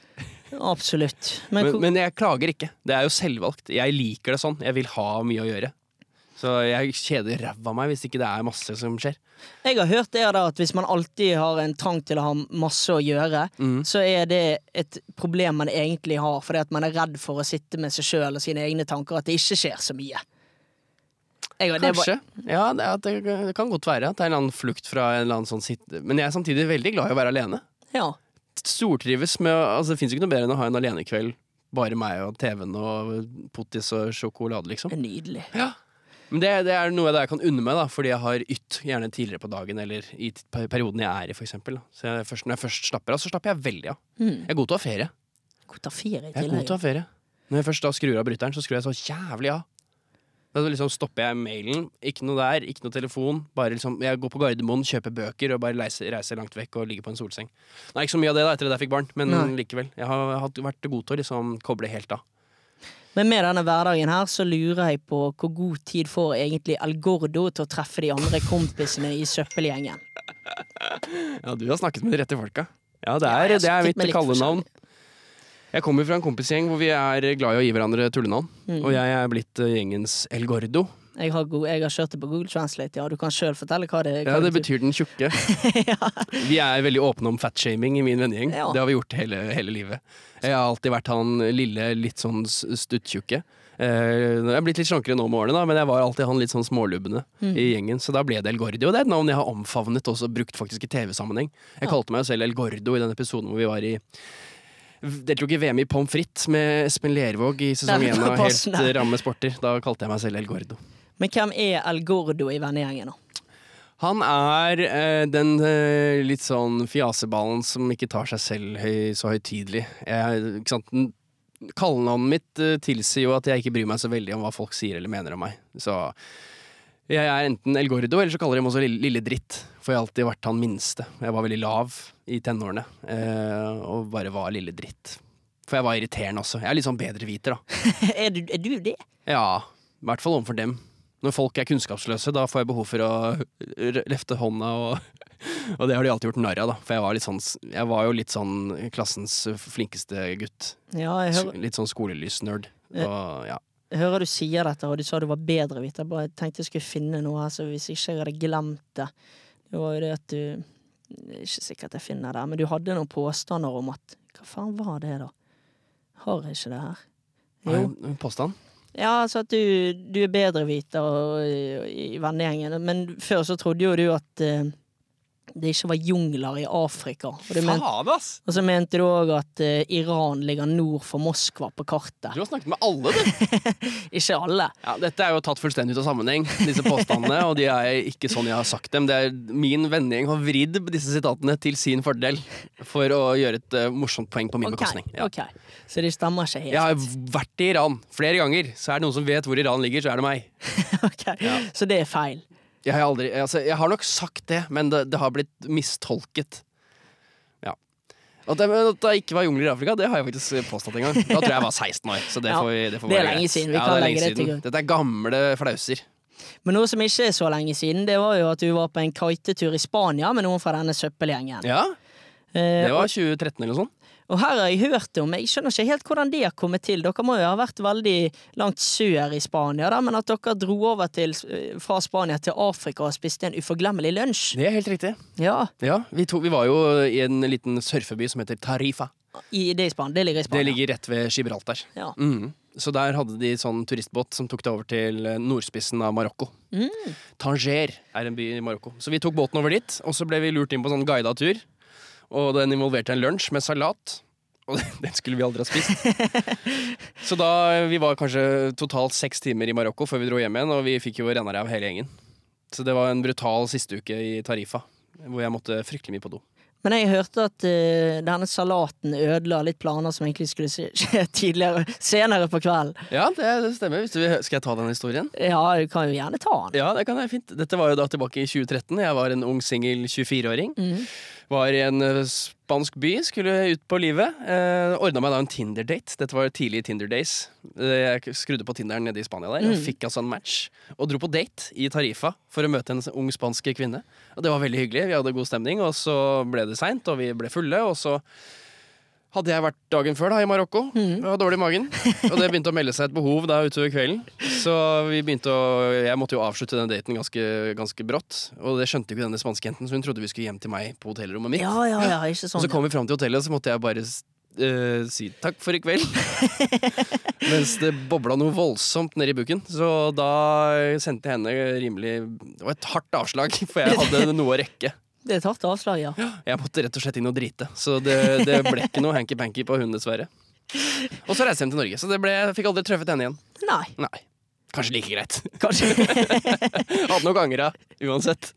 Speaker 2: Absolutt. Men,
Speaker 1: Men,
Speaker 2: hvor-
Speaker 1: men jeg klager ikke. Det er jo selvvalgt. Jeg liker det sånn. Jeg vil ha mye å gjøre. Så jeg kjeder ræva av meg hvis ikke det er masse som skjer.
Speaker 2: jeg har hørt det da, at hvis man alltid har en trang til å ha masse å gjøre,
Speaker 1: Mm.
Speaker 2: så er det et problem man egentlig har, fordi at man er redd for å sitte med seg sjøl og sine egne tanker, at det ikke skjer så mye. Jeg, har- det er
Speaker 1: Kanskje.
Speaker 2: bare-
Speaker 1: Ja, det, er- det, det kan godt være at det er en eller annen flukt fra en eller annen sånn sitt... Men jeg er samtidig veldig glad i å være alene.
Speaker 2: Ja.
Speaker 1: Stortrives med å- Altså, det fins ikke noe bedre enn å ha en alenekveld. Bare meg og TV-en og pottis og sjokolade, liksom.
Speaker 2: Det er nydelig.
Speaker 1: Ja. Men det, det er noe jeg kan unne meg, da, fordi jeg har ytt gjerne tidligere på dagen eller i t- per- perioden jeg er i, for eksempel. da. Så jeg, først, når jeg først slapper av, så slapper jeg veldig av. Jeg er god til å ha ferie.
Speaker 2: God til å ha ferie i
Speaker 1: Jeg er god
Speaker 2: tillegg.
Speaker 1: til å ha ferie. Når jeg først da skrur av bryteren, så skrur jeg så jævlig av. Da liksom stopper jeg mailen. Ikke noe der, ikke noe telefon. Bare liksom, jeg går på Gardermoen, kjøper bøker og bare reiser, reiser langt vekk og ligger på en solseng. Det er ikke så mye av det da etter at jeg fikk barn, men
Speaker 2: Nei.
Speaker 1: likevel. Jeg har hatt- vært god til å liksom koble helt av.
Speaker 2: Men med denne hverdagen her så lurer jeg på hvor god tid får egentlig El Gordo til å treffe de andre kompisene i søppelgjengen.
Speaker 1: Ja, du har snakket med de rette folka. Ja, det er,
Speaker 2: Ja, jeg har
Speaker 1: det er
Speaker 2: snakket
Speaker 1: mitt
Speaker 2: med litt
Speaker 1: kallenavn. Jeg kommer fra en kompisgjeng hvor vi er glad i å gi hverandre tullenavn.
Speaker 2: Mm.
Speaker 1: Og jeg er blitt eh, gjengens El Gordo.
Speaker 2: Jeg har, go- jeg har kjørt det på Google Translate, ja. Du kan sjøl fortelle hva det, hva
Speaker 1: Ja, Det betyr den
Speaker 2: [laughs]
Speaker 1: tjukke. Vi er veldig åpne om fatshaming i min vennegjeng.
Speaker 2: Ja.
Speaker 1: Det har vi gjort hele, hele livet. Jeg har alltid vært han lille, litt sånn s- stuttjukke. Eh, Jeg er blitt litt slankere nå med årene, da, men jeg var alltid han litt sånn smålubbende
Speaker 2: Mm.
Speaker 1: i gjengen. Så da ble det El Gordo. Og det er et navn jeg har omfavnet og også brukt faktisk i TV-sammenheng. Jeg kalte meg jo selv El Gordo i den episoden hvor vi var i Deltok i VM i pommes frites med Espen Lervåg i sesong
Speaker 2: Nei,
Speaker 1: én
Speaker 2: [laughs]
Speaker 1: av Helt
Speaker 2: passende.
Speaker 1: eh, ramme sporter. Da kalte jeg meg selv El Gordo.
Speaker 2: Men hvem er El Gordo i vennegjengen, da?
Speaker 1: Han er eh, den eh, litt sånn fjaseballen som ikke tar seg selv høy, så høytidelig. Jeg- ikke sant? N- Kallenavnet mitt eh, tilsier jo at jeg ikke bryr meg så veldig om hva folk sier eller mener om meg. Så jeg er enten El Gordo, eller så kaller de meg også lille, lille Dritt. For jeg har alltid vært han minste. Jeg var veldig lav i tenårene, eh, og bare var Lille Dritt. For jeg var irriterende også. Jeg er litt sånn bedreviter, da.
Speaker 2: [laughs] Er du, er du det?
Speaker 1: Ja, i hvert fall overfor dem. Når folk er kunnskapsløse, da får jeg behov for å r- løfte hånda, og, [laughs] og det har de alltid gjort narr av, da. For jeg var, litt sånn, s- jeg var jo litt sånn klassens flinkeste gutt.
Speaker 2: Ja, jeg
Speaker 1: S-
Speaker 2: hører,
Speaker 1: Litt sånn skolelysnerd. Og ja.
Speaker 2: jeg hører du sier dette, og du sa du var bedre vidt. Jeg bare tenkte jeg skulle finne noe her, så hvis ikke jeg hadde glemt det Det var jo det at du det er Ikke sikkert jeg finner det, men du hadde noen påstander om at Hva faen var det, da? Har jeg ikke det her?
Speaker 1: Har jeg en Påstand?
Speaker 2: Ja, altså at du, du er bedreviter og- og- i vennegjengen, men før så trodde jo du at eh, det ikke var jungler i Afrika. Og, det men,
Speaker 1: Faen, ass!
Speaker 2: og så mente du òg at eh, Iran ligger nord for Moskva på
Speaker 1: Du
Speaker 2: kartet.
Speaker 1: har snakket med alle,
Speaker 2: [laughs]
Speaker 1: du.
Speaker 2: Ikke alle.
Speaker 1: Ja, dette er jo tatt fullstendig ut av sammenheng, disse påstandene. Og de er ikke sånn jeg har sagt dem. Det er Min vennegjeng har vridd disse sitatene til sin fordel for å gjøre et eh, morsomt poeng på min
Speaker 2: Ok,
Speaker 1: bekostning. Ja.
Speaker 2: ok. Så de stemmer ikke helt.
Speaker 1: Jeg
Speaker 2: [laughs]
Speaker 1: har vært i Iran flere ganger, så er det noen som vet hvor Iran ligger, så er det meg.
Speaker 2: Ok. Så det er feil.
Speaker 1: Jeg har, aldri, altså, jeg har nok sagt det, men det, det har blitt mistolket. Ja. At det, men at det ikke var jungler i Afrika, det har jeg faktisk påstått en gang. Da tror jeg jeg var 16 år. Så det,
Speaker 2: [laughs] Ja,
Speaker 1: får, vi- det, får
Speaker 2: det er
Speaker 1: være
Speaker 2: lenge
Speaker 1: greit.
Speaker 2: siden. Vi
Speaker 1: Ja,
Speaker 2: kan
Speaker 1: det er lenge
Speaker 2: legge det til
Speaker 1: siden.
Speaker 2: grunn.
Speaker 1: Dette er gamle flauser.
Speaker 2: Men noe som ikke er så lenge siden, det var jo at du var på en kitetur i Spania med noen fra denne søppelgjengen.
Speaker 1: Ja,
Speaker 2: Eh,
Speaker 1: Det var 2013 eller noe sånt.
Speaker 2: Og her har jeg hørt om, jeg skjønner ikke helt hvordan de har kommet til. Dere må jo ha vært veldig langt sør i Spania, da, men at dere dro over til, eh, fra Spania til Afrika og spiste en uforglemmelig lunsj.
Speaker 1: Det er helt riktig.
Speaker 2: Ja,
Speaker 1: Ja, vi, to, vi var jo i en liten surfeby som heter Tarifa.
Speaker 2: i det, i Span det ligger i
Speaker 1: Det
Speaker 2: Spania.
Speaker 1: ligger rett ved Gibraltar.
Speaker 2: Ja.
Speaker 1: Mm. Så der hadde de sånn turistbåt som tok det over til eh, nordspissen av Marokko. Tanger er en by i Marokko. Så vi tok båten over dit, og så ble vi lurt inn på sånn guida tur. Og den involverte en lunsj med salat. Og [laughs] den skulle vi aldri ha spist. så da vi var kanskje totalt seks timer i Marokko før vi dro hjem igjen, og vi fikk jo renna av hele gjengen. Så det var en brutal siste uke i Tarifa, hvor jeg måtte fryktelig mye på do.
Speaker 2: Men jeg hørte at eh, denne salaten ødela litt planer som egentlig skulle skje- [laughs] skje tidligere, senere på kvelden.
Speaker 1: Ja, det, det stemmer. Hvis du vil, skal jeg ta den historien?
Speaker 2: Ja, du kan jo gjerne ta den.
Speaker 1: Ja, det kan jeg fint. Dette var jo da tilbake i 2013. Jeg var en ung singel 24-åring. Var i en ø, spansk by, skulle ut på livet. Eh, Ordna meg da en Tinder-date. Dette var tidlig i Tinder Days. Eh, jeg skrudde på Tinderen nede i Spania der og fikk altså en match. Og dro på date i Tarifa for å møte en ung spansk kvinne. Og det var veldig hyggelig. Vi hadde god stemning, og så ble det seint, og vi ble fulle, og så hadde jeg vært dagen før da, i Marokko.
Speaker 2: Mhm.
Speaker 1: Jeg var dårlig i magen. Og det begynte å melde seg et behov da utover kvelden. Så vi begynte å, jeg måtte jo avslutte den daten ganske, ganske brått. Og det skjønte jo ikke denne spanske jenten, så hun trodde vi skulle hjem til meg på hotellrommet mitt.
Speaker 2: Ja, ja, ja, ikke
Speaker 1: Og
Speaker 2: sånn.
Speaker 1: så kom vi fram til hotellet, og så måtte jeg bare eh, si takk for i kveld.
Speaker 2: [laughs]
Speaker 1: Mens det bobla noe voldsomt nedi buken. Så da sendte jeg henne rimelig Det var et hardt avslag, for jeg hadde noe å rekke.
Speaker 2: Det er et hardt avslag, ja.
Speaker 1: Jeg måtte rett og slett inn og drite, så det, det ble ikke noe hanky-panky på hun, dessverre. Og så reiste jeg hjem til Norge, så det ble, jeg fikk aldri truffet henne igjen.
Speaker 2: Nei,
Speaker 1: Nei. Kanskje like greit. [laughs]
Speaker 2: kanskje,
Speaker 1: Hadde nok angra, uansett.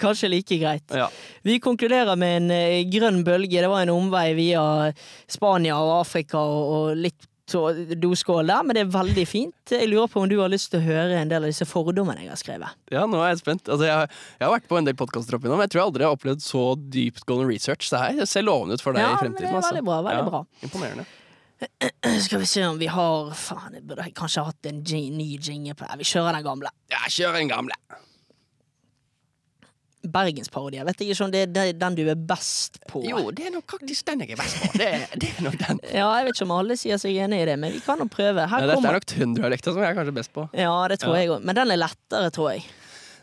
Speaker 2: kanskje like greit.
Speaker 1: Ja.
Speaker 2: Vi konkluderer med en eh, grønn bølge. Det var en omvei via Spania og Afrika og, og litt tå- doskål der, men det er veldig fint. Jeg lurer på om du har lyst til å høre en del av disse fordommene jeg har skrevet. [clears throat]
Speaker 1: ja, nå er jeg spent. Altså, jeg, jeg har vært på en del podkaster opp igjennom, jeg tror jeg aldri har opplevd så dyptgående research. Det her ser lovende ut for deg i
Speaker 2: Ja, men det er
Speaker 1: fremtiden. altså.
Speaker 2: veldig bra, veldig
Speaker 1: Ja,
Speaker 2: bra.
Speaker 1: Imponerende.
Speaker 2: Skal vi se om vi har Faen, jeg burde kanskje hatt en jing- ny jingle på det. Vi kjører den gamle.
Speaker 1: Ja, kjør en gamle.
Speaker 2: Bergensparodier. Vet jeg ikke om det er de- den du er best på.
Speaker 1: Jo, det er nok faktisk den jeg er best på. Det, det er nok den.
Speaker 2: Ja, jeg vet ikke om alle sier seg enig i det, men vi kan jo prøve. Her
Speaker 1: Nei, dette
Speaker 2: kommer
Speaker 1: er nok trønderdialekta som jeg er kanskje best på.
Speaker 2: Ja, det tror jeg òg. Men den er lettere, tror jeg.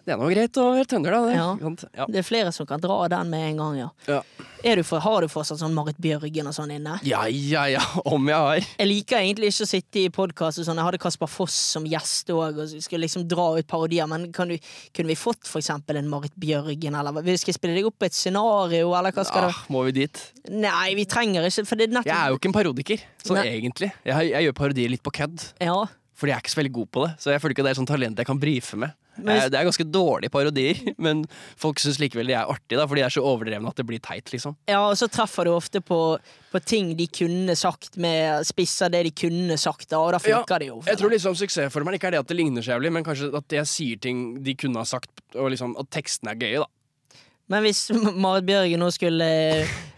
Speaker 1: Det er nå greit å være trønder, da. Det.
Speaker 2: Ja.
Speaker 1: Ikke sant? Ja.
Speaker 2: Det er flere som kan dra den med en gang, ja.
Speaker 1: Ja.
Speaker 2: Er du for, har du fortsatt sånn Marit Bjørgen og sånn inne?
Speaker 1: ja, ja, ja. [laughs] Om jeg har.
Speaker 2: Jeg liker egentlig ikke å sitte i podkast og sånn. Jeg hadde Kasper Foss som gjest òg, og skulle liksom dra ut parodier. Men kan du, kunne vi fått for eksempel en Marit Bjørgen, eller hva? Skal jeg spille deg opp et scenario, eller hva skal
Speaker 1: Ah, må vi dit?
Speaker 2: det Nei, vi trenger ikke, for det er
Speaker 1: Jeg
Speaker 2: nettopp
Speaker 1: er jo ikke en parodiker, sånn
Speaker 2: Nei.
Speaker 1: egentlig. Jeg, jeg gjør parodier litt på kødd,
Speaker 2: ja.
Speaker 1: fordi jeg er ikke så veldig god på det. Så jeg føler ikke det er sånn talent jeg kan brife med.
Speaker 2: Men hvis-
Speaker 1: Jeg- det er ganske dårlige parodier, [laughs] men folk syns likevel de er artige, da, fordi de er så overdrevne at det blir teit, liksom.
Speaker 2: ja, og så treffer du ofte på, på ting de kunne sagt, med spisser det de kunne sagt, da, og da funker det jo. for
Speaker 1: Jeg tror
Speaker 2: deg.
Speaker 1: liksom suksessformelen ikke er det at det ligner så jævlig, men kanskje at jeg sier ting de kunne ha sagt, og liksom at tekstene er gøye, da.
Speaker 2: Men hvis [laughs] Marit Bjørgen nå skulle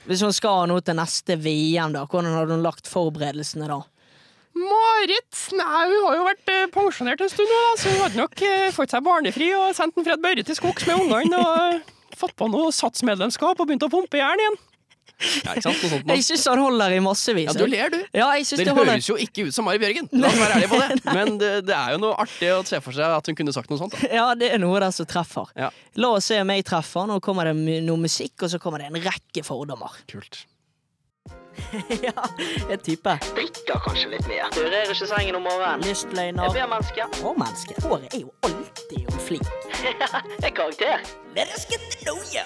Speaker 2: Hvis hun skal nå til neste VM, da, hvordan hadde hun lagt forberedelsene da?
Speaker 1: Marit nei, hun har jo vært eh, pensjonert en stund nå, da, så hun hadde nok eh, fått seg barnefri og sendt en Fred Børre til skogs med ungene og eh, fått på noe satsmedlemskap og begynt å pumpe jern igjen. Ja, ikke sant? Noe sånt,
Speaker 2: Jeg syns han holder i massevis.
Speaker 1: Ja, du ler, du.
Speaker 2: Ja, jeg synes
Speaker 1: Det
Speaker 2: det holder.
Speaker 1: høres jo ikke ut som Mari Bjørgen, la oss være ærlige på det. Men det, det er jo noe artig å se for seg at hun kunne sagt noe sånt.
Speaker 2: [laughs]
Speaker 1: Da.
Speaker 2: Ja, det er noe der som treffer.
Speaker 1: Ja.
Speaker 2: La oss se om jeg treffer. Nå kommer det mu- noe musikk, og så kommer det en rekke fordommer.
Speaker 1: Kult.
Speaker 2: [laughs] ja, en type. Drikker kanskje litt mer. Rører ikke sengen om morgenen. Lystløgner. Jeg blir menneske. Og menneske. [laughs] Håret er jo alltid om flink. En karakter. Mennesket, no, ja.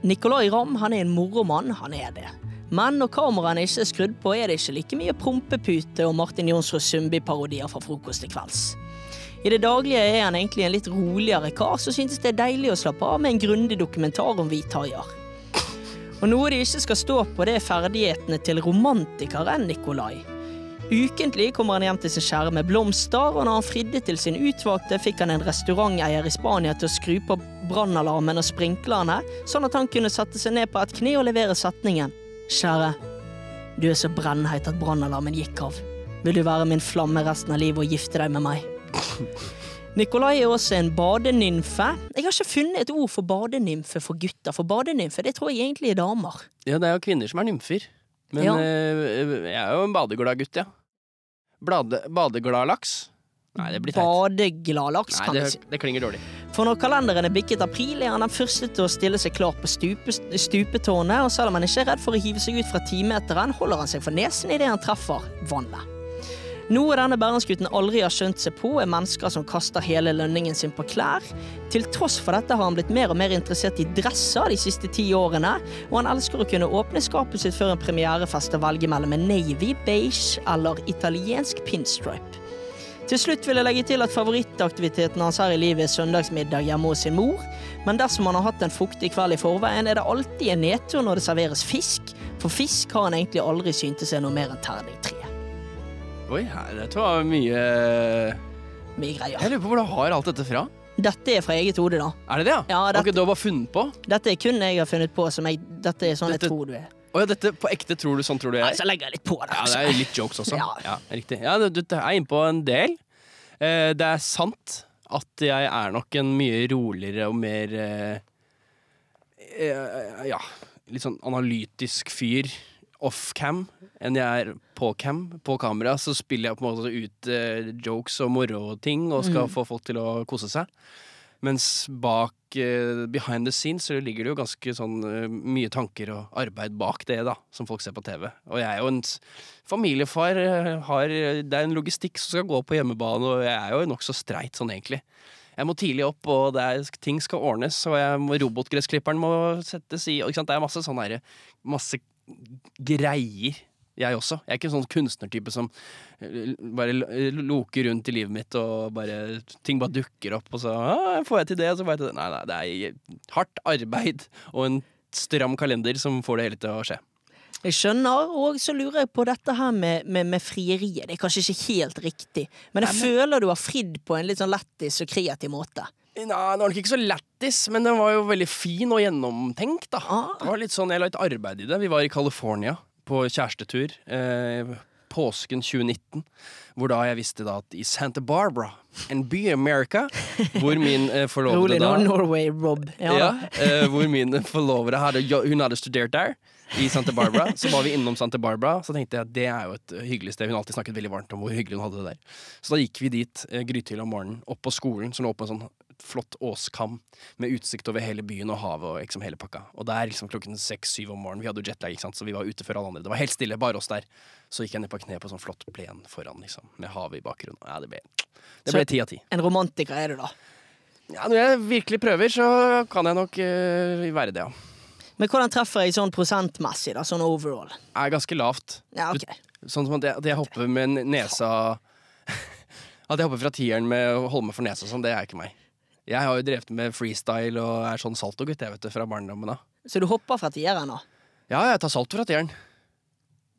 Speaker 2: Nicolay Ramm han er en moromann, han er det. Men når kameraene ikke er skrudd på, er det ikke like mye prompepute og Martin Jonsrud Sundby-parodier fra frokost til kvelds. I det daglige er han egentlig en litt roligere kar som synes det er deilig å slappe av med en grundig dokumentar om hvithaier. Og noe de ikke skal stå på, det er ferdighetene til romantikeren Nikolai. Ukentlig kommer han hjem til sin kjære med blomster, og når han fridde til sin utvalgte, fikk han en restauranteier i Spania til å skru på brannalarmen og sprinklerne, sånn at han kunne sette seg ned på et kne og levere setningen. Kjære, du er så brennheit at brannalarmen gikk av. Vil du være min flamme resten av livet og gifte deg med meg? Nikolai er også en badenymfe. Jeg har ikke funnet et ord for badenymfe for gutter, for badenymfe det tror jeg egentlig er damer.
Speaker 1: Ja, det er jo kvinner som er nymfer. Men
Speaker 2: Ja.
Speaker 1: eh, jeg er jo en badeglad gutt, ja. Blade, badeglad laks? Nei, det blir teit.
Speaker 2: Badegladlaks,
Speaker 1: Nei,
Speaker 2: kan
Speaker 1: det,
Speaker 2: du si.
Speaker 1: det klinger dårlig.
Speaker 2: For når kalenderen er bikket april, er han den første til å stille seg klar på stupe, stupetårnet, og selv om han ikke er redd for å hive seg ut fra timeteren, holder han seg for nesen idet han treffer vannet. Noe denne bergensgutten aldri har skjønt seg på, er mennesker som kaster hele lønningen sin på klær. Til tross for dette har han blitt mer og mer interessert i dresser de siste ti årene, og han elsker å kunne åpne skapet sitt før en premierefest og velge mellom en navy, beige eller italiensk pinstripe. Til slutt vil jeg legge til at favorittaktiviteten hans her i livet er søndagsmiddag hjemme hos sin mor, men dersom han har hatt en fuktig kveld i forveien, er det alltid en nedtur når det serveres fisk, for fisk har han egentlig aldri syntes er noe mer enn terning tre.
Speaker 1: Oi, her, dette var mye
Speaker 2: Mye greier.
Speaker 1: Jeg lurer på hvor du har alt dette fra.
Speaker 2: Dette er fra eget hode, da.
Speaker 1: Er det det, ja?
Speaker 2: Ja,
Speaker 1: Ok, du har bare funnet på? Å
Speaker 2: Dette er kun jeg har funnet på som jeg Dette er sånn
Speaker 1: Dette-
Speaker 2: jeg tror du er.
Speaker 1: ja, dette på ekte tror du sånn tror du jeg
Speaker 2: Nei,
Speaker 1: er?
Speaker 2: Så legger jeg litt på det.
Speaker 1: Ja, det er litt jokes også.
Speaker 2: Ja.
Speaker 1: Ja, riktig. Ja, du, du er inne på en del. Eh, det er sant at jeg er nok en mye roligere og mer eh, eh, Ja, litt sånn analytisk fyr off-cam enn jeg er på-cam. På kamera så spiller jeg på en måte ut eh, jokes og moroting og skal få folk til å kose seg. Mens bak eh, behind the scenes så ligger det jo ganske sånn eh, mye tanker og arbeid bak det, da, som folk ser på TV. Og jeg er jo en s- familiefar, eh, har, det er en logistikk som skal gå på hjemmebane, og jeg er jo nokså streit sånn egentlig. Jeg må tidlig opp, og det er, ting skal ordnes, og jeg må, robotgressklipperen må settes i. og Ikke sant? Det er masse sånn herre Masse greier, jeg også. Jeg er ikke en sånn kunstnertype som eh, bare l- loker rundt i livet mitt, og bare ting bare dukker opp, og så «Ah, får jeg til det, og så får jeg til det. Nei, nei, det er hardt arbeid og en stram kalender som får det hele til å skje.
Speaker 2: Jeg skjønner, og så lurer jeg på dette her med, med, med frieriet. Det er kanskje ikke helt riktig, men jeg føler du har fridd på en litt sånn lættis og kreativ måte.
Speaker 1: Nei, den var nok ikke så lættis, men den var jo veldig fin og gjennomtenkt. da
Speaker 2: Ah.
Speaker 1: Det var litt sånn, Jeg la litt arbeid i det. Vi var i California på kjærestetur eh, påsken 2019. Hvor da jeg visste da at i Santa Barbara, en by i America, hvor min eh,
Speaker 2: Rolig
Speaker 1: forlovede
Speaker 2: nå,
Speaker 1: da
Speaker 2: Norway, Rob. Ja,
Speaker 1: ja,
Speaker 2: da.
Speaker 1: eh, hvor min forlovede hadde, jo- hun hadde studert der, i Santa Barbara. Så var vi innom Santa Barbara, så tenkte jeg at det er jo et hyggelig sted. Hun har alltid snakket veldig varmt om hvor hyggelig hun hadde det der. Så da gikk vi dit eh, grytidlig om morgenen, opp på skolen, som lå på en sånn flott åskam med utsikt over hele byen og havet og liksom hele pakka. Og der liksom klokken seks-syv om morgenen, vi hadde jo jetlag, ikke sant, så vi var ute før alle andre. Det var helt stille, bare oss der. Så gikk jeg ned på kne på sånn flott plen foran, liksom, med havet i bakgrunnen. Ja, det ble det ble
Speaker 2: Så-
Speaker 1: ti av ti.
Speaker 2: En romantiker er du, da.
Speaker 1: Ja, når jeg virkelig prøver, så kan jeg nok eh, være det, ja.
Speaker 2: Men hvordan treffer jeg sånn prosentmessig, da? Sånn overall?
Speaker 1: er ganske lavt.
Speaker 2: Ja, ok.
Speaker 1: Sånn som at jeg, at jeg hopper med n- nesa [laughs] At jeg hopper fra tieren med å holde meg for nesa og sånn, det er ikke meg. Jeg har jo drevet med freestyle og er sånn saltogutt, jeg, vet du, fra barndommen av.
Speaker 2: Så du hopper fra tieren, da?
Speaker 1: Ja, jeg tar salto fra tieren.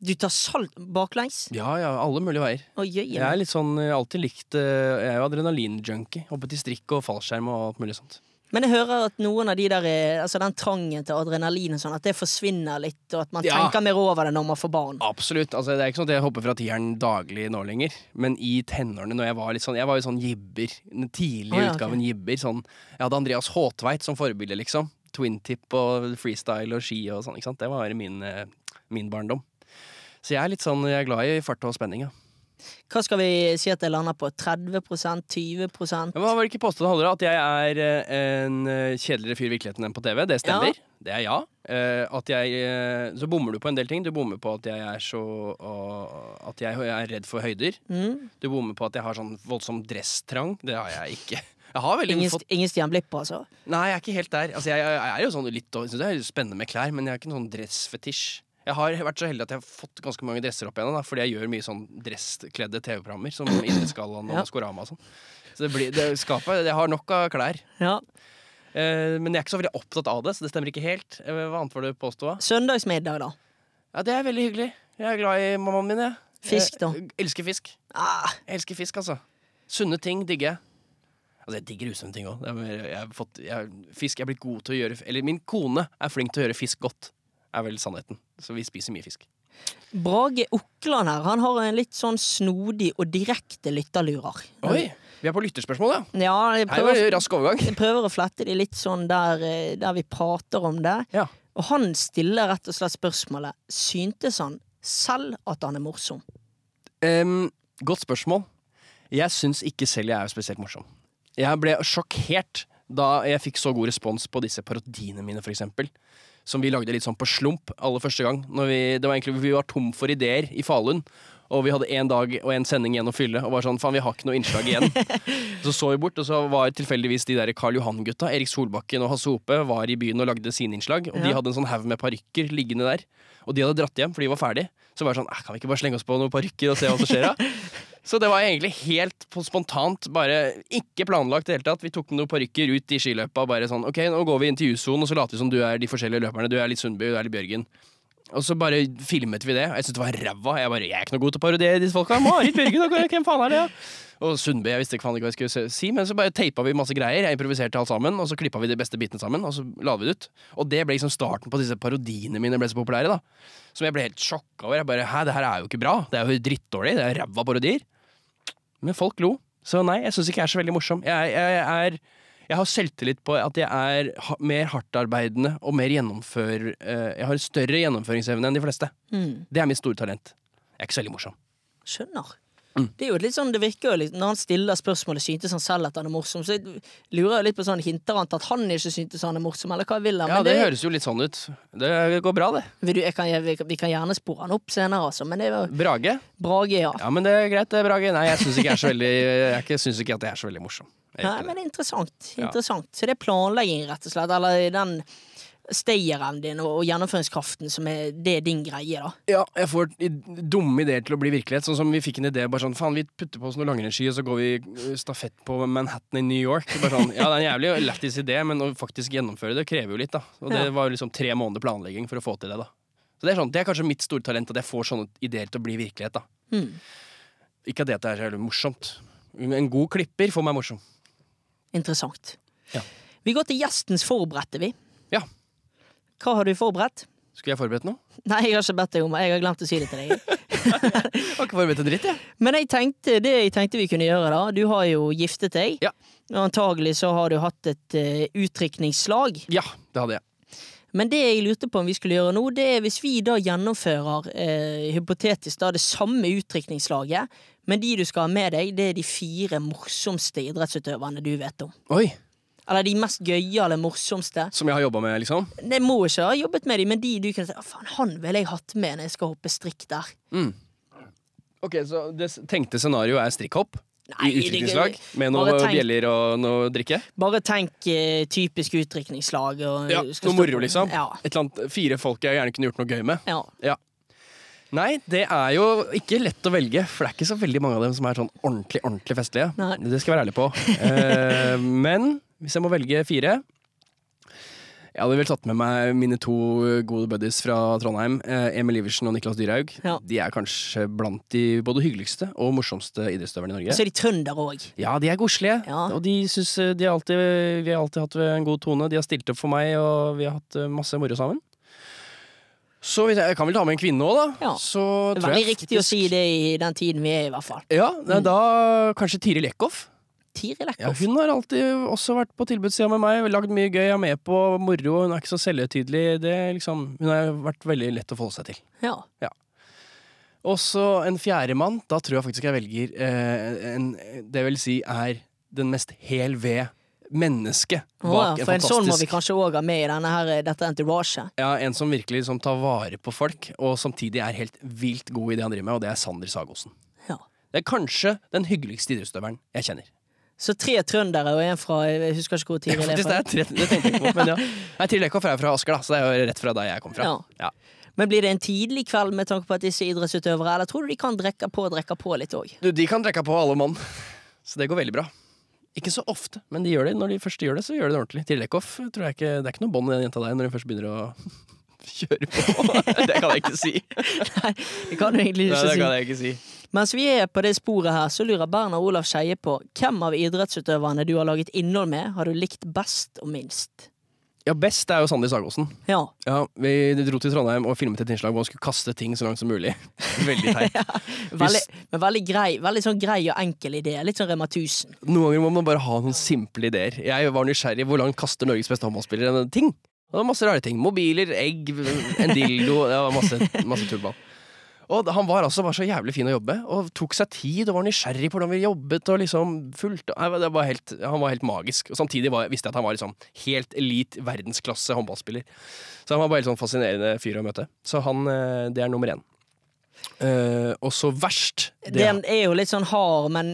Speaker 2: Du tar salt baklengs?
Speaker 1: Ja, ja, alle mulige veier.
Speaker 2: Å, jøye.
Speaker 1: Jeg er litt sånn, jeg har alltid likt eh, Jeg er jo adrenalinjunkie. Hoppet i strikk og fallskjerm og alt mulig sånt.
Speaker 2: Men jeg hører at noen av de der eh, Altså den trangen til adrenalin og sånn, at det forsvinner litt, og at man
Speaker 1: Ja.
Speaker 2: tenker mer over det når man får barn.
Speaker 1: Absolutt. altså Det er ikke sånn at jeg hopper fra tieren daglig nå lenger. Men i tenårene, når jeg var litt sånn Jeg var jo sånn jibber. Den tidlige
Speaker 2: Å, ja, ok.
Speaker 1: utgaven jibber. Sånn, jeg hadde Andreas Håtveit som forbilde, liksom. Twintip og freestyle og ski og sånn. ikke sant? Det var min, eh, min barndom. Så jeg er litt sånn, jeg er glad i fart og spenning. Ja.
Speaker 2: Hva skal vi si at jeg lander på? 30 20
Speaker 1: Men Hva var det ikke påstått holder, da? at jeg er eh, en eh, kjedeligere fyr i virkeligheten enn på TV? Det stemmer. Det er ja. Eh, at jeg, eh, så bommer du på en del ting. Du bommer på at jeg er så og, At jeg er redd for høyder.
Speaker 2: Mm.
Speaker 1: Du bommer på at jeg har sånn voldsom dresstrang. Det har jeg ikke. Jeg har veldig
Speaker 2: Ingen,
Speaker 1: fått
Speaker 2: ingen Stian Blipp, altså.
Speaker 1: Nei, jeg er ikke helt der. Altså, jeg, jeg, jeg er jo sånn litt og- synes det er spennende med klær, men jeg er ikke noen sånn dressfetisj. Jeg har vært så heldig at jeg har fått ganske mange dresser opp igjennom, da, fordi jeg gjør mye sånn dresskledde TV-programmer, som
Speaker 2: [clears throat]
Speaker 1: Idrettsgallaen og
Speaker 2: Ja.
Speaker 1: Maskorama og sånn. Så det blir, det skaper, jeg har nok av klær.
Speaker 2: Ja.
Speaker 1: Eh, men jeg er ikke så veldig opptatt av det, så det stemmer ikke helt. Eh, Hva annet var det du påstod?
Speaker 2: Søndagsmiddag, da.
Speaker 1: Ja, det er veldig hyggelig. Jeg er glad i mammaen min, jeg.
Speaker 2: Fisk, da.
Speaker 1: Jeg elsker fisk.
Speaker 2: Ah,
Speaker 1: Jeg elsker fisk, altså. Sunne ting digger jeg. Altså, jeg digger usunne ting òg. Jeg har fått jeg, Fisk jeg er blitt god til å gjøre Eller min kone er flink til å gjøre fisk godt, er vel sannheten. Så vi spiser mye fisk.
Speaker 2: Brage Okland her, han har en litt sånn snodig og direkte lytterlurer.
Speaker 1: Oi! Vi er på lytterspørsmål, ja.
Speaker 2: Ja, jeg
Speaker 1: Her var
Speaker 2: prøver,
Speaker 1: det rask overgang.
Speaker 2: jeg prøver å flette de litt sånn der, eh, der vi prater om det.
Speaker 1: Ja.
Speaker 2: Og han stiller rett og slett spørsmålet Syntes han selv at han er morsom?
Speaker 1: Em, godt spørsmål. Jeg syns ikke selv jeg er spesielt morsom. Jeg ble sjokkert da jeg fikk så god respons på disse parodiene mine, for eksempel. Som vi lagde litt sånn på slump aller første gang. Når vi, det var egentlig, vi var tom for ideer i Falun. Og vi hadde én dag og én sending igjen å fylle, og var sånn faen, vi har ikke noe innslag igjen. så så vi bort, og så var tilfeldigvis de der Karl Johan-gutta, Erik Solbakken og Hasse Hope, var i byen og lagde sine innslag. Og de
Speaker 2: Ja.
Speaker 1: hadde en sånn haug med parykker liggende der. Og de hadde dratt hjem, for de var ferdig. Så var det sånn, "Eh, kan vi ikke bare slenge oss på noen parykker og se hva som skjer da? Så det var egentlig helt på- spontant, bare ikke planlagt i det hele tatt. Vi tok med noen parykker ut i skiløypa og bare sånn, ok, nå går vi inn til U-sonen, og så later vi som du er de forskjellige løperne. Du er litt Sundby, du er litt Bjørgen. Og så bare filmet vi det, og jeg syntes det var ræva. Jeg bare, jeg er ikke noe god til å parodiere disse folka. Marit Bjørgen, og hvem faen er det? da?» Og Sundby, jeg visste ikke faen ikke hva jeg skulle si, men så bare teipa vi masse greier. Jeg improviserte alt sammen, og så klippa vi de beste bitene sammen, og så la vi det ut. Og det ble liksom starten på at disse parodiene mine ble så populære, da. Som jeg ble helt sjokka over. Jeg bare, hæ, det her er jo ikke bra. Det er jo drittdårlig. Det er ræva parodier. Men folk lo. Så nei, jeg syns ikke jeg er så veldig morsom. Jeg, jeg, jeg er jeg har selvtillit på at jeg er ha mer hardtarbeidende og mer gjennomfør... eh, jeg har større gjennomføringsevne enn de fleste.
Speaker 2: Mm,
Speaker 1: Det er mitt store talent. Jeg er ikke så veldig morsom.
Speaker 2: skjønner.
Speaker 1: Mm.
Speaker 2: Det er jo litt sånn, det virker jo litt Når han stiller spørsmålet syntes han selv at han er morsom, så jeg lurer jeg litt på sånn hinter han til at han ikke syntes han er morsom, eller hva vil han?
Speaker 1: Ja,
Speaker 2: Men
Speaker 1: det, høres jo litt sånn ut. Det går bra, det.
Speaker 2: vil du, jeg kan, jeg, vi kan- vi kan gjerne spore han opp senere, altså, men det var
Speaker 1: Brage?
Speaker 2: Brage, ja.
Speaker 1: Ja, men det er greit, det, Brage. Nei, jeg syns ikke, jeg er så veldig- jeg er ikke- synes ikke at jeg er så veldig morsom. Jeg
Speaker 2: Nei,
Speaker 1: gjør
Speaker 2: men
Speaker 1: ikke det.
Speaker 2: det er interessant.
Speaker 1: Ja.
Speaker 2: interessant. Så det er planlegging, rett og slett, eller den stayeren din og, og gjennomføringskraften som er Det er din greie, da.
Speaker 1: Ja, jeg får i- dumme ideer til å bli virkelighet. Sånn som vi fikk en idé bare sånn Faen, vi putter på oss noe langrennsski, og så går vi eh, stafett på Manhattan i New York. Bare sånn, ja, det er en jævlig lættis idé, men å faktisk gjennomføre det krever jo litt, da. Og det
Speaker 2: Ja.
Speaker 1: var jo liksom tre måneder planlegging for å få til det, da. Så det er, sånn, det er kanskje mitt store talent, at jeg får sånne ideer til å bli virkelighet, da.
Speaker 2: Mm.
Speaker 1: Ikke at det er så jævlig morsomt. En god klipper får meg morsom.
Speaker 2: Interessant.
Speaker 1: Ja.
Speaker 2: Vi går til gjestens forberedte, vi.
Speaker 1: Ja.
Speaker 2: Hva har du forberedt? [laughs]
Speaker 1: Skulle jeg forberedt noe?
Speaker 2: Nei, jeg har ikke bedt deg om det. Jeg har glemt å si det til
Speaker 1: [laughs]
Speaker 2: deg.
Speaker 1: Jeg har ikke forberedt en dritt, jeg.
Speaker 2: Men jeg tenkte, det jeg tenkte vi kunne gjøre, da Du har jo giftet deg.
Speaker 1: Ja.
Speaker 2: Og antagelig så har du hatt et uh, utdrikningslag.
Speaker 1: Ja, det hadde jeg.
Speaker 2: Men det jeg lurte på om vi skulle gjøre nå, det er hvis vi da gjennomfører eh, hypotetisk da det samme utdrikningslaget, men de du skal ha med deg, det er de fire morsomste idrettsutøverne du vet om.
Speaker 1: Oi.
Speaker 2: Eller de mest gøyale, morsomste.
Speaker 1: Som jeg har jobba med, liksom.
Speaker 2: Det må ikke ha jobbet med de, men de du kunne si Å, faen, han ville jeg hatt med når jeg skal hoppe strikk der.
Speaker 1: Ok, Så det s- tenkte scenarioet er strikkhopp?
Speaker 2: Nei,
Speaker 1: I
Speaker 2: det-
Speaker 1: utdrikningslag? Med
Speaker 2: Bare
Speaker 1: noen
Speaker 2: tenk-
Speaker 1: bjeller og noe drikke?
Speaker 2: Bare tenk eh, typisk utdrikningslag. og-
Speaker 1: Ja,
Speaker 2: skal
Speaker 1: Noe
Speaker 2: stå
Speaker 1: moro,
Speaker 2: på-
Speaker 1: liksom?
Speaker 2: Ja.
Speaker 1: Et eller annet, fire folk jeg gjerne kunne gjort noe gøy med?
Speaker 2: ja.
Speaker 1: Ja. Nei, det er jo ikke lett å velge, for det er ikke så veldig mange av dem som er sånn ordentlig ordentlig festlige.
Speaker 2: Nei.
Speaker 1: Det skal jeg være ærlig på. Eh, [laughs] men hvis jeg må velge fire Jeg hadde vel tatt med meg mine to gode buddies fra Trondheim. eh, Emil Iversen og Niklas Dyrhaug.
Speaker 2: Ja.
Speaker 1: De er kanskje blant de både hyggeligste og morsomste idrettsutøverne i Norge.
Speaker 2: Og så er de trøndere òg.
Speaker 1: Ja, de er godslige.
Speaker 2: Ja.
Speaker 1: Og de synes eh, de har alltid, vi har alltid hatt eh, en god tone. De har stilt opp for meg, og vi har hatt eh, masse moro sammen. Så hvis jeg, jeg kan vel ta med en kvinne òg, da.
Speaker 2: Ja.
Speaker 1: Så
Speaker 2: Det er
Speaker 1: tror
Speaker 2: veldig
Speaker 1: jeg
Speaker 2: riktig å
Speaker 1: faktisk-
Speaker 2: si det Mm. i den tiden vi er i, i hvert fall.
Speaker 1: Ja, det er da kanskje Tiril Eckhoff.
Speaker 2: Tiril
Speaker 1: Ja,
Speaker 2: Eckhoff.
Speaker 1: hun har alltid også vært på tilbudssida med meg. Lagd mye gøy, jeg er med på moro. Hun er ikke så selvhøytidelig. Det er Liksom, hun har vært veldig lett å forholde seg til.
Speaker 2: Ja.
Speaker 1: Og så en fjerde mann. Da tror jeg faktisk jeg velger eh, en Det vil si er den mest hel ved menneske
Speaker 2: Å,
Speaker 1: bak
Speaker 2: ja,
Speaker 1: en
Speaker 2: for en sånn må vi
Speaker 1: fantastisk
Speaker 2: kanskje òg ha med i denne her, eh, dette entouraget.
Speaker 1: ja, En som virkelig som tar vare på folk, og samtidig er helt vilt god i det han driver med, og det er Sander Sagosen.
Speaker 2: Ja.
Speaker 1: Det er kanskje den hyggeligste idrettsutøveren jeg kjenner.
Speaker 2: Så tre trøndere og en fra eh, Jeg husker ikke hvor Tiril
Speaker 1: Faktisk,
Speaker 2: er
Speaker 1: det,
Speaker 2: fra.
Speaker 1: er tre, det tenkte jeg ikke på, men ja. Nei, Tiril Eckhoff er fra Asker, da, så det er jo rett fra der jeg kom fra.
Speaker 2: Ja.
Speaker 1: Ja.
Speaker 2: Men blir det en tidlig kveld med tanke på at disse idrettsutøvere, eller tror du de kan drikke på og drikke på litt òg?
Speaker 1: Du, de kan trekke på alle mann, så det går veldig bra. Ikke så ofte, men de gjør det. når de først gjør det, så gjør de det ordentlig. Tiril Eckhoff tror jeg ikke Det er ikke noe bånd i den jenta der når hun først begynner å [laughs] kjøre på. [laughs] Det kan jeg ikke si.
Speaker 2: Det kan du egentlig
Speaker 1: Nei,
Speaker 2: ikke
Speaker 1: det
Speaker 2: si.
Speaker 1: kan jeg ikke si.
Speaker 2: Mens vi er på det sporet her, så lurer Berner Olav Skeie på hvem av idrettsutøverne du har laget innhold med, har du likt best og minst?
Speaker 1: Ja, best er jo Sandi Sagosen.
Speaker 2: Ja.
Speaker 1: Ja, Vi dro til Trondheim og filmet et innslag hvor han skulle kaste ting så langt som mulig. [laughs] Veldig teit.
Speaker 2: Veldig, men veldig grei, veldig sånn grei og enkel idé. Litt sånn Rema 1000.
Speaker 1: Noen ganger må man bare ha noen simple ideer. Jeg var nysgjerrig hvor langt kaster Norges beste håndballspillere en ting. Og det var masse rare ting. Mobiler, egg, en dildo. Det var masse, masse tullball. Og han var altså bare så jævlig fin å jobbe med, og tok seg tid og var nysgjerrig på hvordan vi jobbet. og liksom fulgte- Nei, det var helt, Han var helt magisk. Og samtidig var, visste jeg at han var liksom helt elite, verdensklasse håndballspiller. Så han var bare helt sånn fascinerende fyr å møte. Så han, eh, det er nummer én. Eh, og så verst
Speaker 2: Det er jo litt sånn hard, men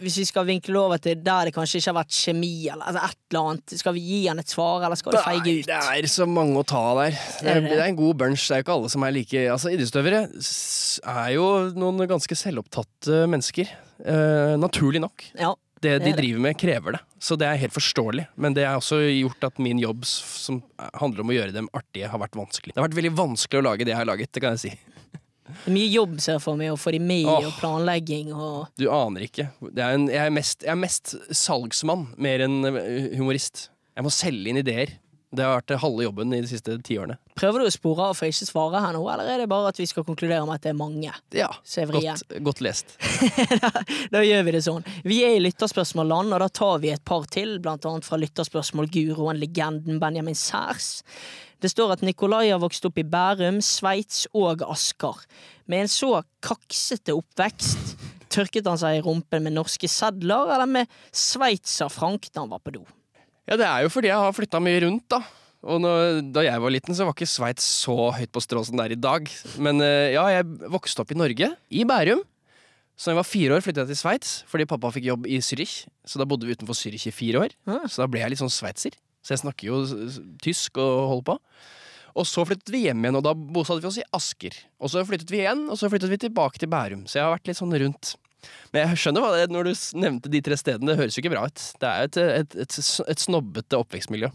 Speaker 2: hvis vi skal vinkle over til der det kanskje ikke har vært kjemi, eller altså et eller annet, skal vi gi han et svar, eller skal det feige
Speaker 1: Nei,
Speaker 2: ut?
Speaker 1: det er så mange å ta der. Det
Speaker 2: Er
Speaker 1: er,
Speaker 2: det?
Speaker 1: det er en god bunch. Det er jo ikke alle som er like Altså, idrettsutøvere s- er jo noen ganske selvopptatte mennesker. Eh, naturlig nok.
Speaker 2: Ja.
Speaker 1: Det
Speaker 2: Det
Speaker 1: de
Speaker 2: er det.
Speaker 1: driver med, krever det. Så det er helt forståelig. Men det har også gjort at min jobb, s- som handler om å gjøre dem artige, har vært vanskelig. Det har vært veldig vanskelig å lage det jeg har laget, det kan jeg si.
Speaker 2: Det er mye jobb, ser jeg for meg, å få de med,
Speaker 1: Åh.
Speaker 2: og planlegging og
Speaker 1: Du aner ikke. Det er en, jeg, er mest, jeg er mest salgsmann, mer enn eh, humorist. Jeg må selge inn ideer. Det har vært halve jobben i de siste tiårene.
Speaker 2: Prøver du å spore av for jeg ikke svarer her nå, eller er det bare at vi skal konkludere med at det er mange?
Speaker 1: Ja,
Speaker 2: Så jeg vrir.
Speaker 1: godt, godt lest.
Speaker 2: Da gjør vi det sånn. Vi er i lytterspørsmålland, og da tar vi et par til, blant annet fra lytterspørsmål guroen, legenden Benjamin Særs. Det står at Nikolai har vokst opp i Bærum, Sveits og Asker. Med en så kaksete oppvekst, tørket han seg i rumpen med norske sedler, eller med sveitserfrank da han var på do?
Speaker 1: Ja, det er jo fordi jeg har flytta mye rundt, da. Og når, da jeg var liten, så var ikke Sveits så høyt på strå som det er i dag. Men eh, ja, jeg vokste opp i Norge, i Bærum. Så da jeg var fire år, flytta jeg til Sveits fordi pappa fikk jobb i Zürich. Så da bodde vi utenfor Zürich i fire år.
Speaker 2: Ah.
Speaker 1: Så da ble jeg litt sånn sveitser. Så jeg snakker jo s- s- tysk og holder på. Og så flyttet vi hjem igjen, og da bosatte vi oss i Asker. Og så flyttet vi igjen, og så flyttet vi tilbake til Bærum. Så jeg har vært litt sånn rundt. Men jeg skjønner hva det er når du s- nevnte de tre stedene. Det høres jo ikke bra ut. Det er jo et, et, et, s- et snobbete oppvekstmiljø.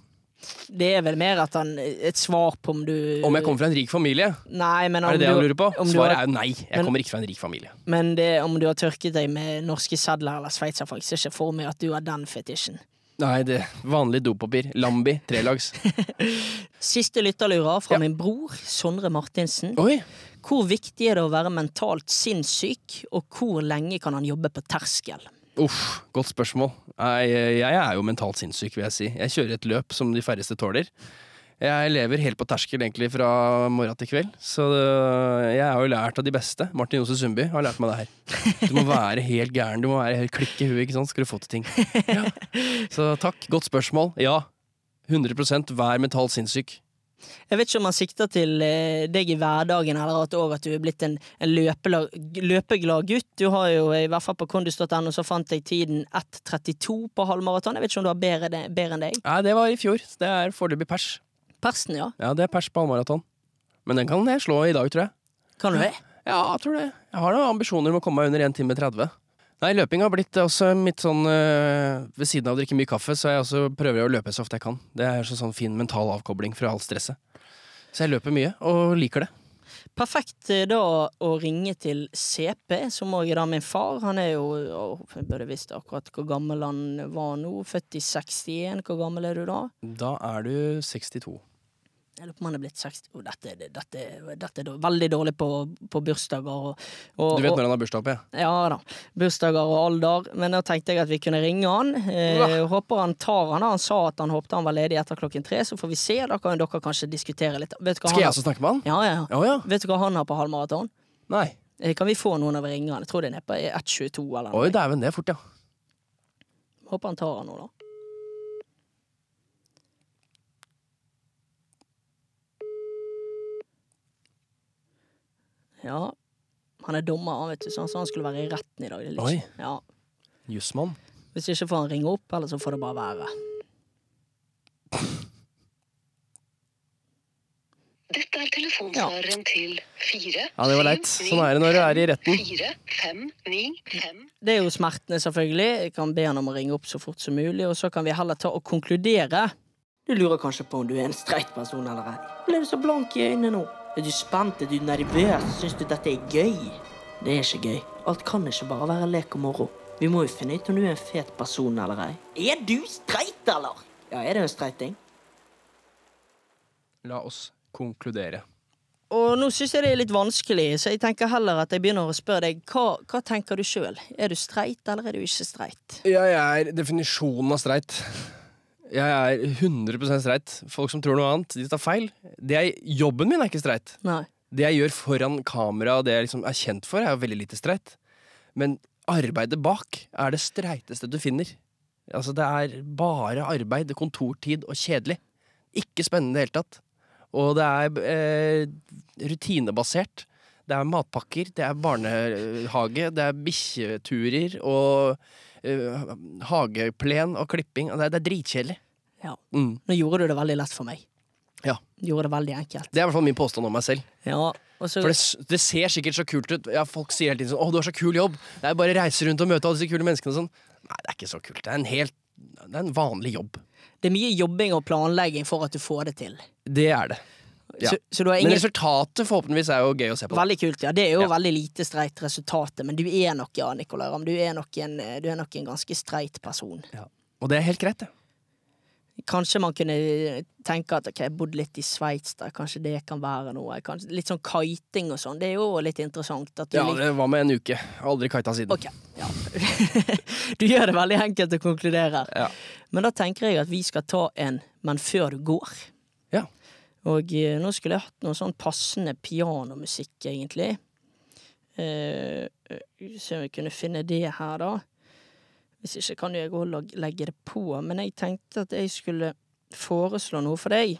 Speaker 2: Det er vel mer at han Et svar på om du
Speaker 1: Om jeg kommer fra en rik familie?
Speaker 2: Nei, men om
Speaker 1: Er det det han
Speaker 2: du-
Speaker 1: lurer på?
Speaker 2: om du
Speaker 1: Svaret
Speaker 2: har-
Speaker 1: er jo nei. Jeg
Speaker 2: Men-
Speaker 1: kommer ikke fra en rik familie.
Speaker 2: Men det, om du har tørket deg med norske sedler eller sveitserfrank, ser jeg ikke for meg at du har den fetisjen.
Speaker 1: Nei, det Vanlig dopapir. Lambi.
Speaker 2: [laughs]
Speaker 1: Trelags.
Speaker 2: Siste lytterlurer fra
Speaker 1: Ja.
Speaker 2: min bror, Sondre Martinsen.
Speaker 1: Oi!
Speaker 2: Hvor viktig er det å være mentalt sinnssyk, og hvor lenge kan han jobbe på terskel?
Speaker 1: Uff, godt spørsmål. Nei, jeg er jo mentalt sinnssyk, vil jeg si. Jeg kjører et løp som de færreste tåler. Jeg lever helt på terskel egentlig fra morgen til kveld, så øh, jeg har jo lært av de beste. Martin Jose Sundby har lært meg det her. Du må være helt gæren, du må være helt klikke i huet, ikke sant, skal du få til ting. Ja. Så takk, godt spørsmål. Ja, 100 vær mentalt sinnssyk.
Speaker 2: Jeg vet ikke om han sikter til eh, deg i hverdagen, eller at, og at du er blitt en, en løpelag, løpeglad gutt. Du har jo, eh, i hvert fall på kondis.no, så fant jeg tiden 1.32 på halvmaraton. Jeg vet ikke om du har bedre, det- bedre enn deg.
Speaker 1: Nei, det var i fjor. så Det er foreløpig pers.
Speaker 2: Persen, ja.
Speaker 1: Ja, det er pers på halvmaraton. Men den kan jeg slå i dag, tror jeg.
Speaker 2: Kan du det?
Speaker 1: Ja, jeg tror det. Jeg har noen ambisjoner om å komme meg under 1 time 30. Nei, løping har blitt også mitt sånn øh, Ved siden av å drikke mye kaffe, så jeg også prøver jeg å løpe så ofte jeg kan. Det er så sånn fin mental avkobling fra alt stresset. Så jeg løper mye, og liker det.
Speaker 2: Perfekt eh, da å ringe til CP, som òg er da min far. Han er jo å, Jeg burde visst akkurat hvor gammel han var nå. Født i 61. Hvor gammel er du da?
Speaker 1: Da er du 62.
Speaker 2: Jeg lurer på om han er blitt 60 oh, dette, dette, dette, er da- veldig dårlig på, på bursdager og, og
Speaker 1: Du vet
Speaker 2: og,
Speaker 1: når han har bursdag oppe, ja.
Speaker 2: Ja da. Bursdager og alder. Men da tenkte jeg at vi kunne ringe han. Eh, håper han tar han. da. Han sa at han håpte han var ledig etter klokken tre, så får vi se. Da kan dere kanskje diskutere litt. Vet du hva
Speaker 1: Skal jeg
Speaker 2: han har?
Speaker 1: også snakke med han?
Speaker 2: Ja, ja, ja.
Speaker 1: Å ja.
Speaker 2: Vet du hva han har på halvmaraton?
Speaker 1: Nei.
Speaker 2: Eh, Kan vi få noen av ringene? Jeg tror det er nede på 1,22 eller noe.
Speaker 1: Oi, dæven, det er fort, ja.
Speaker 2: Håper han tar den nå, da. Ja. Han er dommer, han, vet du, så han sa han skulle være i retten i dag. Det er litt
Speaker 1: Oi.
Speaker 2: kjipt. Ja.
Speaker 1: Jussmann.
Speaker 2: Hvis ikke får han ringe opp, eller så får det bare være.
Speaker 8: Dette er telefonsvareren til 4
Speaker 1: Ja, det var leit. Sånn er det når du er i retten.
Speaker 8: 4, 5, 9, 5
Speaker 2: Det er jo smertene, selvfølgelig. Jeg kan be han om å ringe opp så fort som mulig, og så kan vi heller ta og konkludere. Du lurer kanskei på om du er en streit person eller ei. Ble du så blank i øynene nå? Er du spent? Er du nervøs? Syns du dette er gøy? Det er ikke gøy. Alt kan ikke bare være lek og moro. Vi må jo finne ut om du er en fet person eller ei. Er du streit, eller? Ja, er det en streiting?
Speaker 1: La oss konkludere.
Speaker 2: Og nå syns jeg det er litt vanskelig, så jeg tenker heller at jeg begynner å spørre deg hva, hva tenker du sjøl. Er du streit, eller er du ikke streit?
Speaker 1: Jeg er definisjonen av streit. Jeg er 100 streit. Folk som tror noe annet, de tar feil. Det er, jobben min er ikke streit.
Speaker 2: Nei.
Speaker 1: Det jeg gjør foran kamera, og det jeg liksom er kjent for, er jo veldig lite streit. Men arbeidet bak er det streiteste du finner. Altså, det er bare arbeid, kontortid og kjedelig. Ikke spennende i det hele tatt. Og det er eh, rutinebasert. Det er matpakker, det er barnehage, det er bikkjeturer og eh, hageplen og klipping. Og Det er, det er dritkjedelig.
Speaker 2: Ja.
Speaker 1: Mm.
Speaker 2: Nå gjorde du det veldig lett for meg.
Speaker 1: Ja.
Speaker 2: Gjorde det veldig enkelt.
Speaker 1: Det er i hvert fall min påstand om meg selv.
Speaker 2: Ja, og så,
Speaker 1: For det, s- det ser sikkert så kult ut. Ja, folk sier hele tiden sånn 'Å, du har så kul jobb'. Det er bare å reise rundt og møte alle disse kule menneskene og sånn. Nei, det er ikke så kult. Det er en helt Det er en vanlig jobb.
Speaker 2: det er mye jobbing og planlegging for at du får det til.
Speaker 1: Det er det. Ja.
Speaker 2: Så, så du har
Speaker 1: Men
Speaker 2: ingen
Speaker 1: resultatet forhåpentligvis er jo gøy å se på.
Speaker 2: Veldig kult, ja. Det er jo
Speaker 1: Ja.
Speaker 2: veldig lite streit resultatet, men du er nok, ja, Nicolai Ramm, du er nok en, du er nok en ganske streit person.
Speaker 1: Ja. Og det er helt greit, det.
Speaker 2: Kanskje man kunne tenke at ok, jeg bodde litt i Sveits, da. Kanskje det kan være noe. Kanskje, litt sånn kiting og sånn, det er jo litt interessant. At du liksom
Speaker 1: Ja,
Speaker 2: liker-
Speaker 1: det var med en uke. Aldri kita siden.
Speaker 2: Ok, ja. [laughs] Du gjør det veldig enkelt å konkludere.
Speaker 1: Ja.
Speaker 2: Men da tenker jeg at vi skal ta en Men før du går.
Speaker 1: Ja.
Speaker 2: Og eh, nå skulle jeg hatt noe sånn passende pianomusikk, egentlig. Eh, eh, se om vi kunne finne det her, da. Hvis ikke kan jo jeg gå og lag- legge det på. Men jeg tenkte at jeg skulle foreslå noe for deg.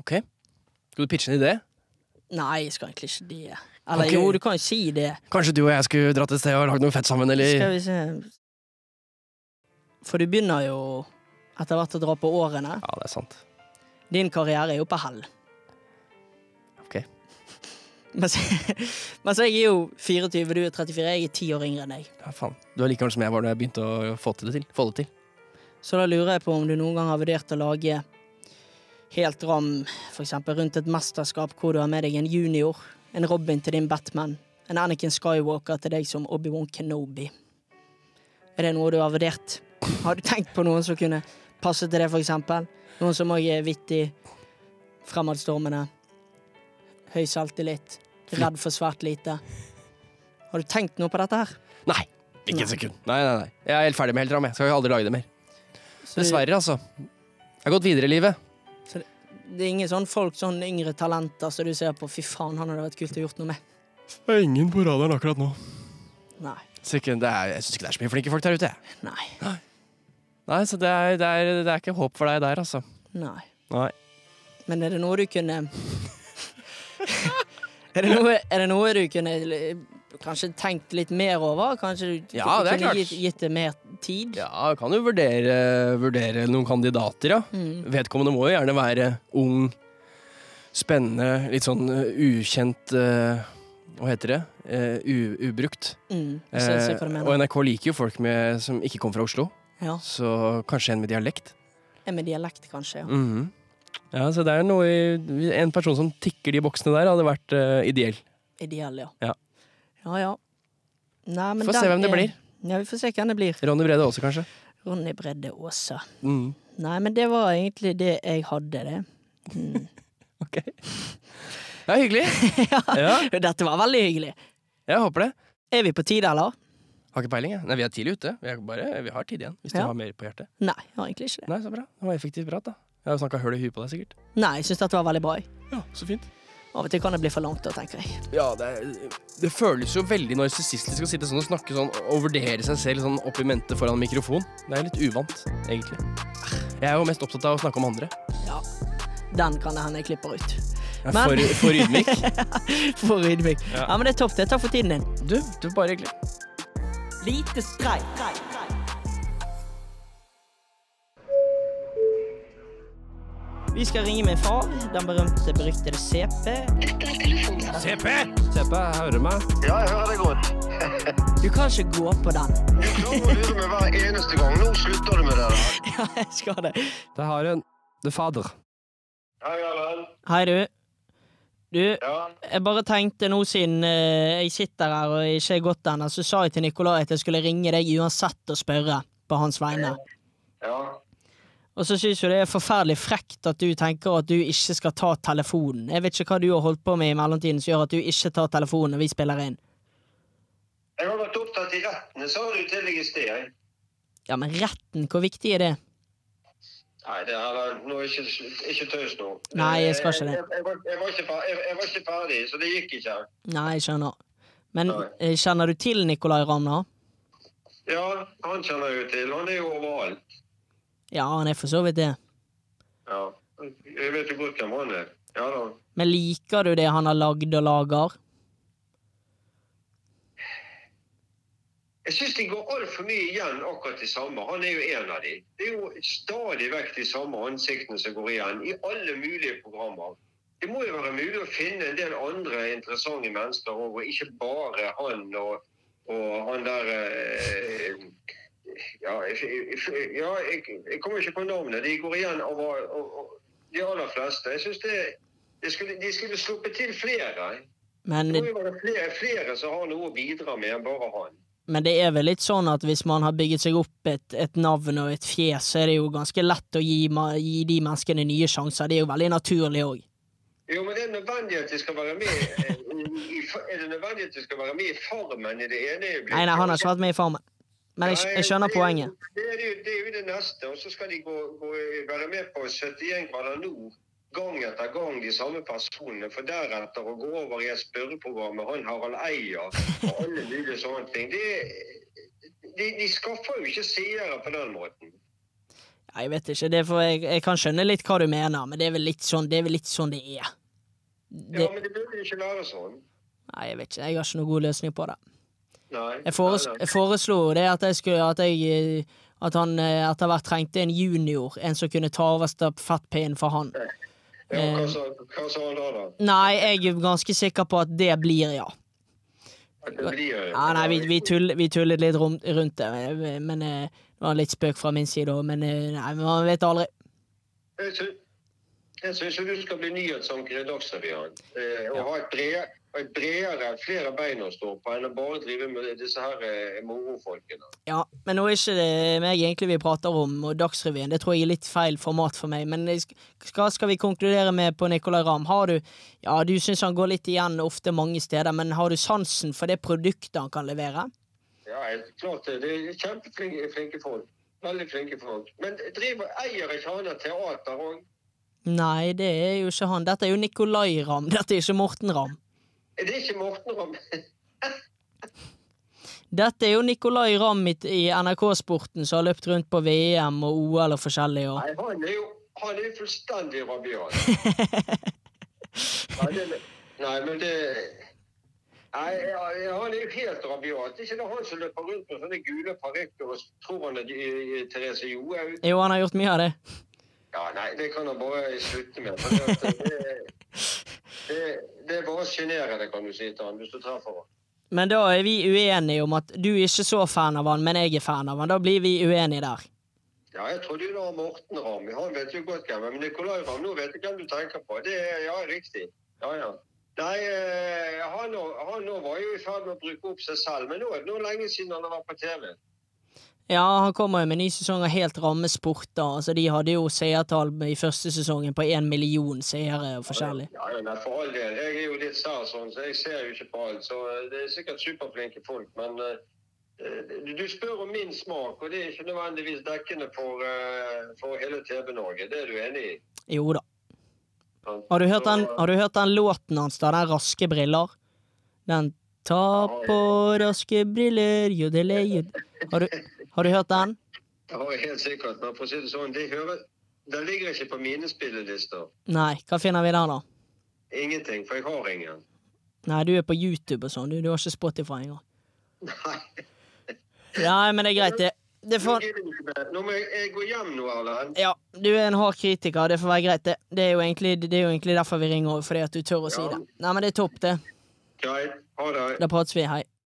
Speaker 1: Ok. Skal du pitche en idé?
Speaker 2: Nei, jeg skal egentlig ikke det. Eller
Speaker 1: Ok.
Speaker 2: jo, du kan jo si det.
Speaker 1: Kanskje du og jeg skulle dratt et sted og lagd noe fett sammen,
Speaker 2: Skal
Speaker 1: eller
Speaker 2: vi se For du begynner jo etter hvert å dra på årene.
Speaker 1: Ja, det er sant.
Speaker 2: Din karriere er jo på hell. [laughs]
Speaker 1: Ok.
Speaker 2: Mens, mens jeg er jo 24, du er 34, jeg er ti år yngre enn deg.
Speaker 1: Ja, faen. Du er like gammel som jeg var da jeg begynte å få til det til. Få det til.
Speaker 2: Så da lurer jeg på om du noen gang har vurdert å lage helt ram, f.eks. rundt et mesterskap hvor du har med deg en junior, en Robin til din Batman, en Anakin Skywalker til deg som Obi-Wan Kenobi. Er det noe du har vurdert? Har du tenkt på noen som kunne passe til det, f.eks.? Noen som òg er vittig, fremadstormende, høy selvtillit, redd for svært lite? Har du tenkt noe på dette her?
Speaker 1: Nei! Ikke et sekund. Nei, nei, nei. Jeg er helt ferdig med Helt Ram. Jeg skal aldri lage det mer.
Speaker 2: Så det-
Speaker 1: Dessverre, altså. Jeg har gått videre i livet.
Speaker 2: Det er ingen sånn folk, sånn yngre talenter som du ser på Fy faen, han hadde vært kult å gjort noe med.
Speaker 1: Det er ingen på radaren akkurat nå.
Speaker 2: Nei.
Speaker 1: Sikkert, det er, jeg syns ikke det er så mye flinke folk der ute. jeg.
Speaker 2: Nei.
Speaker 1: Nei, så det er, det, er, det er ikke håp for deg der, altså.
Speaker 2: Nei.
Speaker 1: Nei.
Speaker 2: Men er det noe du kunne [laughs] er, det noe, er det noe du kunne l- kanskje tenkt litt mer over? Kanskje du
Speaker 1: Ja, det er
Speaker 2: kunne
Speaker 1: klart.
Speaker 2: gitt, gitt det mer tid?
Speaker 1: Ja, jeg kan jo vurdere, vurdere noen kandidater, ja.
Speaker 2: Mm.
Speaker 1: Vedkommende må jo gjerne være ung, spennende, litt sånn eh, ukjent eh, Hva heter det? Eh, u, ubrukt.
Speaker 2: Mm, jeg ser- ser hva du
Speaker 1: Eh,
Speaker 2: mener.
Speaker 1: og NRK liker jo folk med, som ikke kommer fra Oslo,
Speaker 2: Ja.
Speaker 1: så kanskje en med dialekt.
Speaker 2: Er Med dialekt, kanskje. Ja.
Speaker 1: Mhm. Ja, så det er noe i, En person som tikker de boksene der, hadde vært eh, ideell.
Speaker 2: Ideell, ja.
Speaker 1: Ja.
Speaker 2: ja, ja. Nei, men
Speaker 1: Får se
Speaker 2: den
Speaker 1: hvem det
Speaker 2: er-
Speaker 1: blir.
Speaker 2: Ja, vi får se hvem det blir.
Speaker 1: Ronny Brede også, kanskje.
Speaker 2: Ronny Bredde Aase.
Speaker 1: Mm.
Speaker 2: Nei, men det var egentlig det jeg hadde, det.
Speaker 1: Ok. [laughs] Det er hyggelig. [laughs] ja,
Speaker 2: [laughs] Dette var veldig hyggelig.
Speaker 1: jeg håper det.
Speaker 2: Er vi på tide, eller?
Speaker 1: Har ikke peiling, jeg. Nei, vi er tidlig ute. Vi, er bare, vi har tid igjen, hvis
Speaker 2: Ja.
Speaker 1: du har mer på hjertet.
Speaker 2: Nei, jeg har egentlig ikke det.
Speaker 1: Nei, så bra. Det var effektiv prat, da. Jeg har snakka høl i huet på deg, sikkert.
Speaker 2: Nei, jeg syns dette var veldig bra. jeg.
Speaker 1: Ja, så fint.
Speaker 2: Av og til kan det bli for langt, da, tenker jeg.
Speaker 1: Ja, det, er, det føles jo veldig narsissistisk å sitte sånn og snakke sånn og vurdere seg selv sånn opp i mente foran mikrofon. Det er litt uvant, egentlig. Jeg er jo mest opptatt av å snakke om andre.
Speaker 2: Ja. Den kan det hende jeg klipper ut. [laughs]
Speaker 1: Jeg er
Speaker 2: Men-
Speaker 1: for, for ydmyk.
Speaker 2: For ydmyk. Ja. men det er topp. det. Takk for tiden din.
Speaker 1: Du, du bare hyggelig.
Speaker 2: Lite streik. Vi skal ringe min far, den berømte, beryktede CP.
Speaker 8: Dette er telefonsvareren.
Speaker 9: CP! CP, hører du meg?
Speaker 10: Ja, jeg hører deg godt.
Speaker 2: Du kan ikke gå på den. [laughs]
Speaker 10: Du klarer å lure meg hver eneste gang. Nå slutter du med det der.
Speaker 2: Ja, jeg skal det.
Speaker 9: Det har hun. The Father.
Speaker 10: Hei, Erlend.
Speaker 2: Hei, du. Du,
Speaker 10: Ja,
Speaker 2: jeg bare tenkte nå siden eh, jeg sitter her og ikke er gått ennå, så sa jeg til Nikolai at jeg skulle ringe deg uansett og spørre på hans vegne.
Speaker 10: ja.
Speaker 2: Og så syns jo det er forferdelig frekt at du tenker at du ikke skal ta telefonen. Jeg vet ikke hva du har holdt på med i mellomtiden som gjør at du ikke tar telefonen når vi spiller inn.
Speaker 10: Jeg har vært opptatt i rettene, sa du til deg i sted. jeg.
Speaker 2: Ja, men retten, hvor viktig er det?
Speaker 10: Nei, det er nå er ikke, ikke tøys nå.
Speaker 2: Nei, jeg skal ikke det.
Speaker 10: Jeg, jeg, var, jeg, var ikke fer- jeg, jeg var ikke ferdig, så det gikk ikke.
Speaker 2: Nei, jeg skjønner. Men
Speaker 10: Nei.
Speaker 2: eh, kjenner du til Nikolai Ramna?
Speaker 10: Ja, han kjenner jeg jo til. Han er jo overalt.
Speaker 2: Ja, han er for så vidt det.
Speaker 10: Ja. Jeg vet jo godt hvem han er. Ja da.
Speaker 2: Men liker du det han har lagd og lager?
Speaker 10: Jeg syns de går altfor mye igjen akkurat det samme. Han er jo en av de. Det er jo stadig vekk de samme ansiktene som går igjen i alle mulige programmer. Det må jo være mulig å finne en del andre interessante mennesker òg, og ikke bare han og, og han der eh, ja, jeg, jeg- ja jeg, jeg kommer ikke på navnet. De går igjen over og, og, de aller fleste. Jeg syns det, det skulle, de skulle sluppet til flere.
Speaker 2: Men,
Speaker 10: Det må jo være flere, flere som har noe å bidra med enn bare han.
Speaker 2: men det er vel litt sånn at hvis man har bygget seg opp et, et navn og et fjes, så er det jo ganske lett å gi, ma- gi de menneskene nye sjanser. Det er jo veldig naturlig òg.
Speaker 10: Jo, men det er nødvendig at de skal være med eh, i- i, er det nødvendig at de skal være med i Farmen i det ene øyeblikket?
Speaker 2: Nei, nei, han har ikke vært med i Farmen. Men jeg, jeg skjønner
Speaker 10: Nei, det er-
Speaker 2: poenget.
Speaker 10: Det er, jo, det er jo det neste. Og så skal de gå, gå, være med på 71 grader nord gang etter gang, de samme personene. For deretter å gå over i et spørreprogram med han Harald Eia og alle mulige sånne ting. Det, de, de skaffer jo ikke seere på den måten.
Speaker 2: Ja, jeg vet ikke, det får jeg, jeg kan skjønne litt hva du mener, men det er vel litt sånn det er. Vel litt sånn det er. Det,
Speaker 10: Ja, men det burde jo ikke være sånn.
Speaker 2: nei, jeg vet ikke. Jeg har ikke noen god løsning på det.
Speaker 10: Nei.
Speaker 2: Jeg, fores,
Speaker 10: Nei, nei.
Speaker 2: jeg foreslo det at jeg skulle At, jeg, eh, at han eh, etter hvert trengte en junior, en som kunne ta over stafettpinnen for han. Eh,
Speaker 10: Ja, hva sa- hva sa han da, da?
Speaker 2: Nei, jeg er ganske sikker på at det blir, ja.
Speaker 10: At det blir
Speaker 2: ja nei, vi, vi, tull, vi tullet litt rom, rundt det, men, men eh, det var litt spøk fra min side òg, men eh, nei, man vet aldri.
Speaker 10: Jeg sy- Jeg syns jo du skal bli nyhetsanker i Dagsrevyen. eh, Og ha et bredere, et bredere, flere bein å stå på enn å bare drive med disse her eh, morofolkene.
Speaker 2: Ja, men nå er ikke det meg egentlig vi prater om, og Dagsrevyen. Det tror jeg er litt feil format for meg, men jeg sk- hva skal vi konkludere med på Nicolay Ramm? Har du Ja, du syns han går litt igjen ofte mange steder, men har du sansen for det produktet han kan levere?
Speaker 10: Ja, jeg- klart eh, det. Det er kjempeflinke flinke folk. Veldig flinke folk. Men driver, eier ikke han et teater òg?
Speaker 2: Nei, det er jo ikke han. Dette er jo Nicolay Ramm, dette er ikke Morten Ramm.
Speaker 10: Er det ikke Morten Ramm? [laughs]
Speaker 2: Dette er jo Nicolay Ramm i, i NRK-sporten som har løpt rundt på VM og OL og forskjellig. Og...
Speaker 10: Nei, han er jo han er jo fullstendig rabiat. Nei, det, nei, men det Nei, ja, han er jo helt rabiat. Det er ikke det han som løper rundt med sånne gule parykker og tror han er eh, Therese Johaug?
Speaker 2: Jo, han har gjort mye av det.
Speaker 10: Ja, nei, det kan han bare slutte med. For det, at det, det, det er bare sjenerende, kan du si til han, hvis du treffer han.
Speaker 2: Men da er vi uenige om at du er ikke så fan av han, men jeg er fan av han. Da blir vi uenige der.
Speaker 10: Ja, jeg trodde jo det var Morten Ramm. Han vet jo godt hvem. Men Nicolai Ramm, nå vet jeg hvem du tenker på. Det er ja, riktig. Ja, ja. Nei, eh, han, nå- han nå var jo i ferd med å bruke opp seg selv. Men nå er det noe lenge siden han har vært på TV.
Speaker 2: Ja, han kommer jo med ny sesong av helt ramme sport, da. Altså, de hadde jo seertall i første sesongen på én million seere og forskjellig.
Speaker 10: Ja, ja, nei, for all del. Jeg er jo litt sær sånn, så jeg ser jo ikke på alt. Så eh, det er sikkert superflinke folk, men eh, eh, du- du spør om min smak, og det er ikke nødvendigvis dekkende for, eh, for hele TV-Norge. Det er du enig i?
Speaker 2: Jo da.
Speaker 10: sant?
Speaker 2: Har du hørt den,
Speaker 10: Så, eh,
Speaker 2: har du hørt den låten hans, da? Den Raske briller? Den Ta på raske briller, jodele, jodele har, du- har du hørt den?
Speaker 10: Ja, helt sikkert. Men for å si det sånn, det hører Den ligger ikke på mine spillelister.
Speaker 2: Nei, hva finner vi der, da?
Speaker 10: Ingenting, for jeg har ingen.
Speaker 2: Nei, du er på YouTube og sånn, du. Du har ikke Spotify engang.
Speaker 10: Nei.
Speaker 2: Nei, men det er greit, det. det
Speaker 10: Nå
Speaker 2: får
Speaker 10: gidder jeg ikke mer. Nå må jeg, jeg gå hjem nå, Erlend.
Speaker 2: Ja, du er en hard kritiker, det får være greit, det. Det er jo egentlig, det er jo egentlig derfor vi ringer, fordi at du tør å si
Speaker 10: Ja.
Speaker 2: det. Nei, men det er topp, det.
Speaker 10: Greit. Ha det.
Speaker 2: Da prates vi, hei.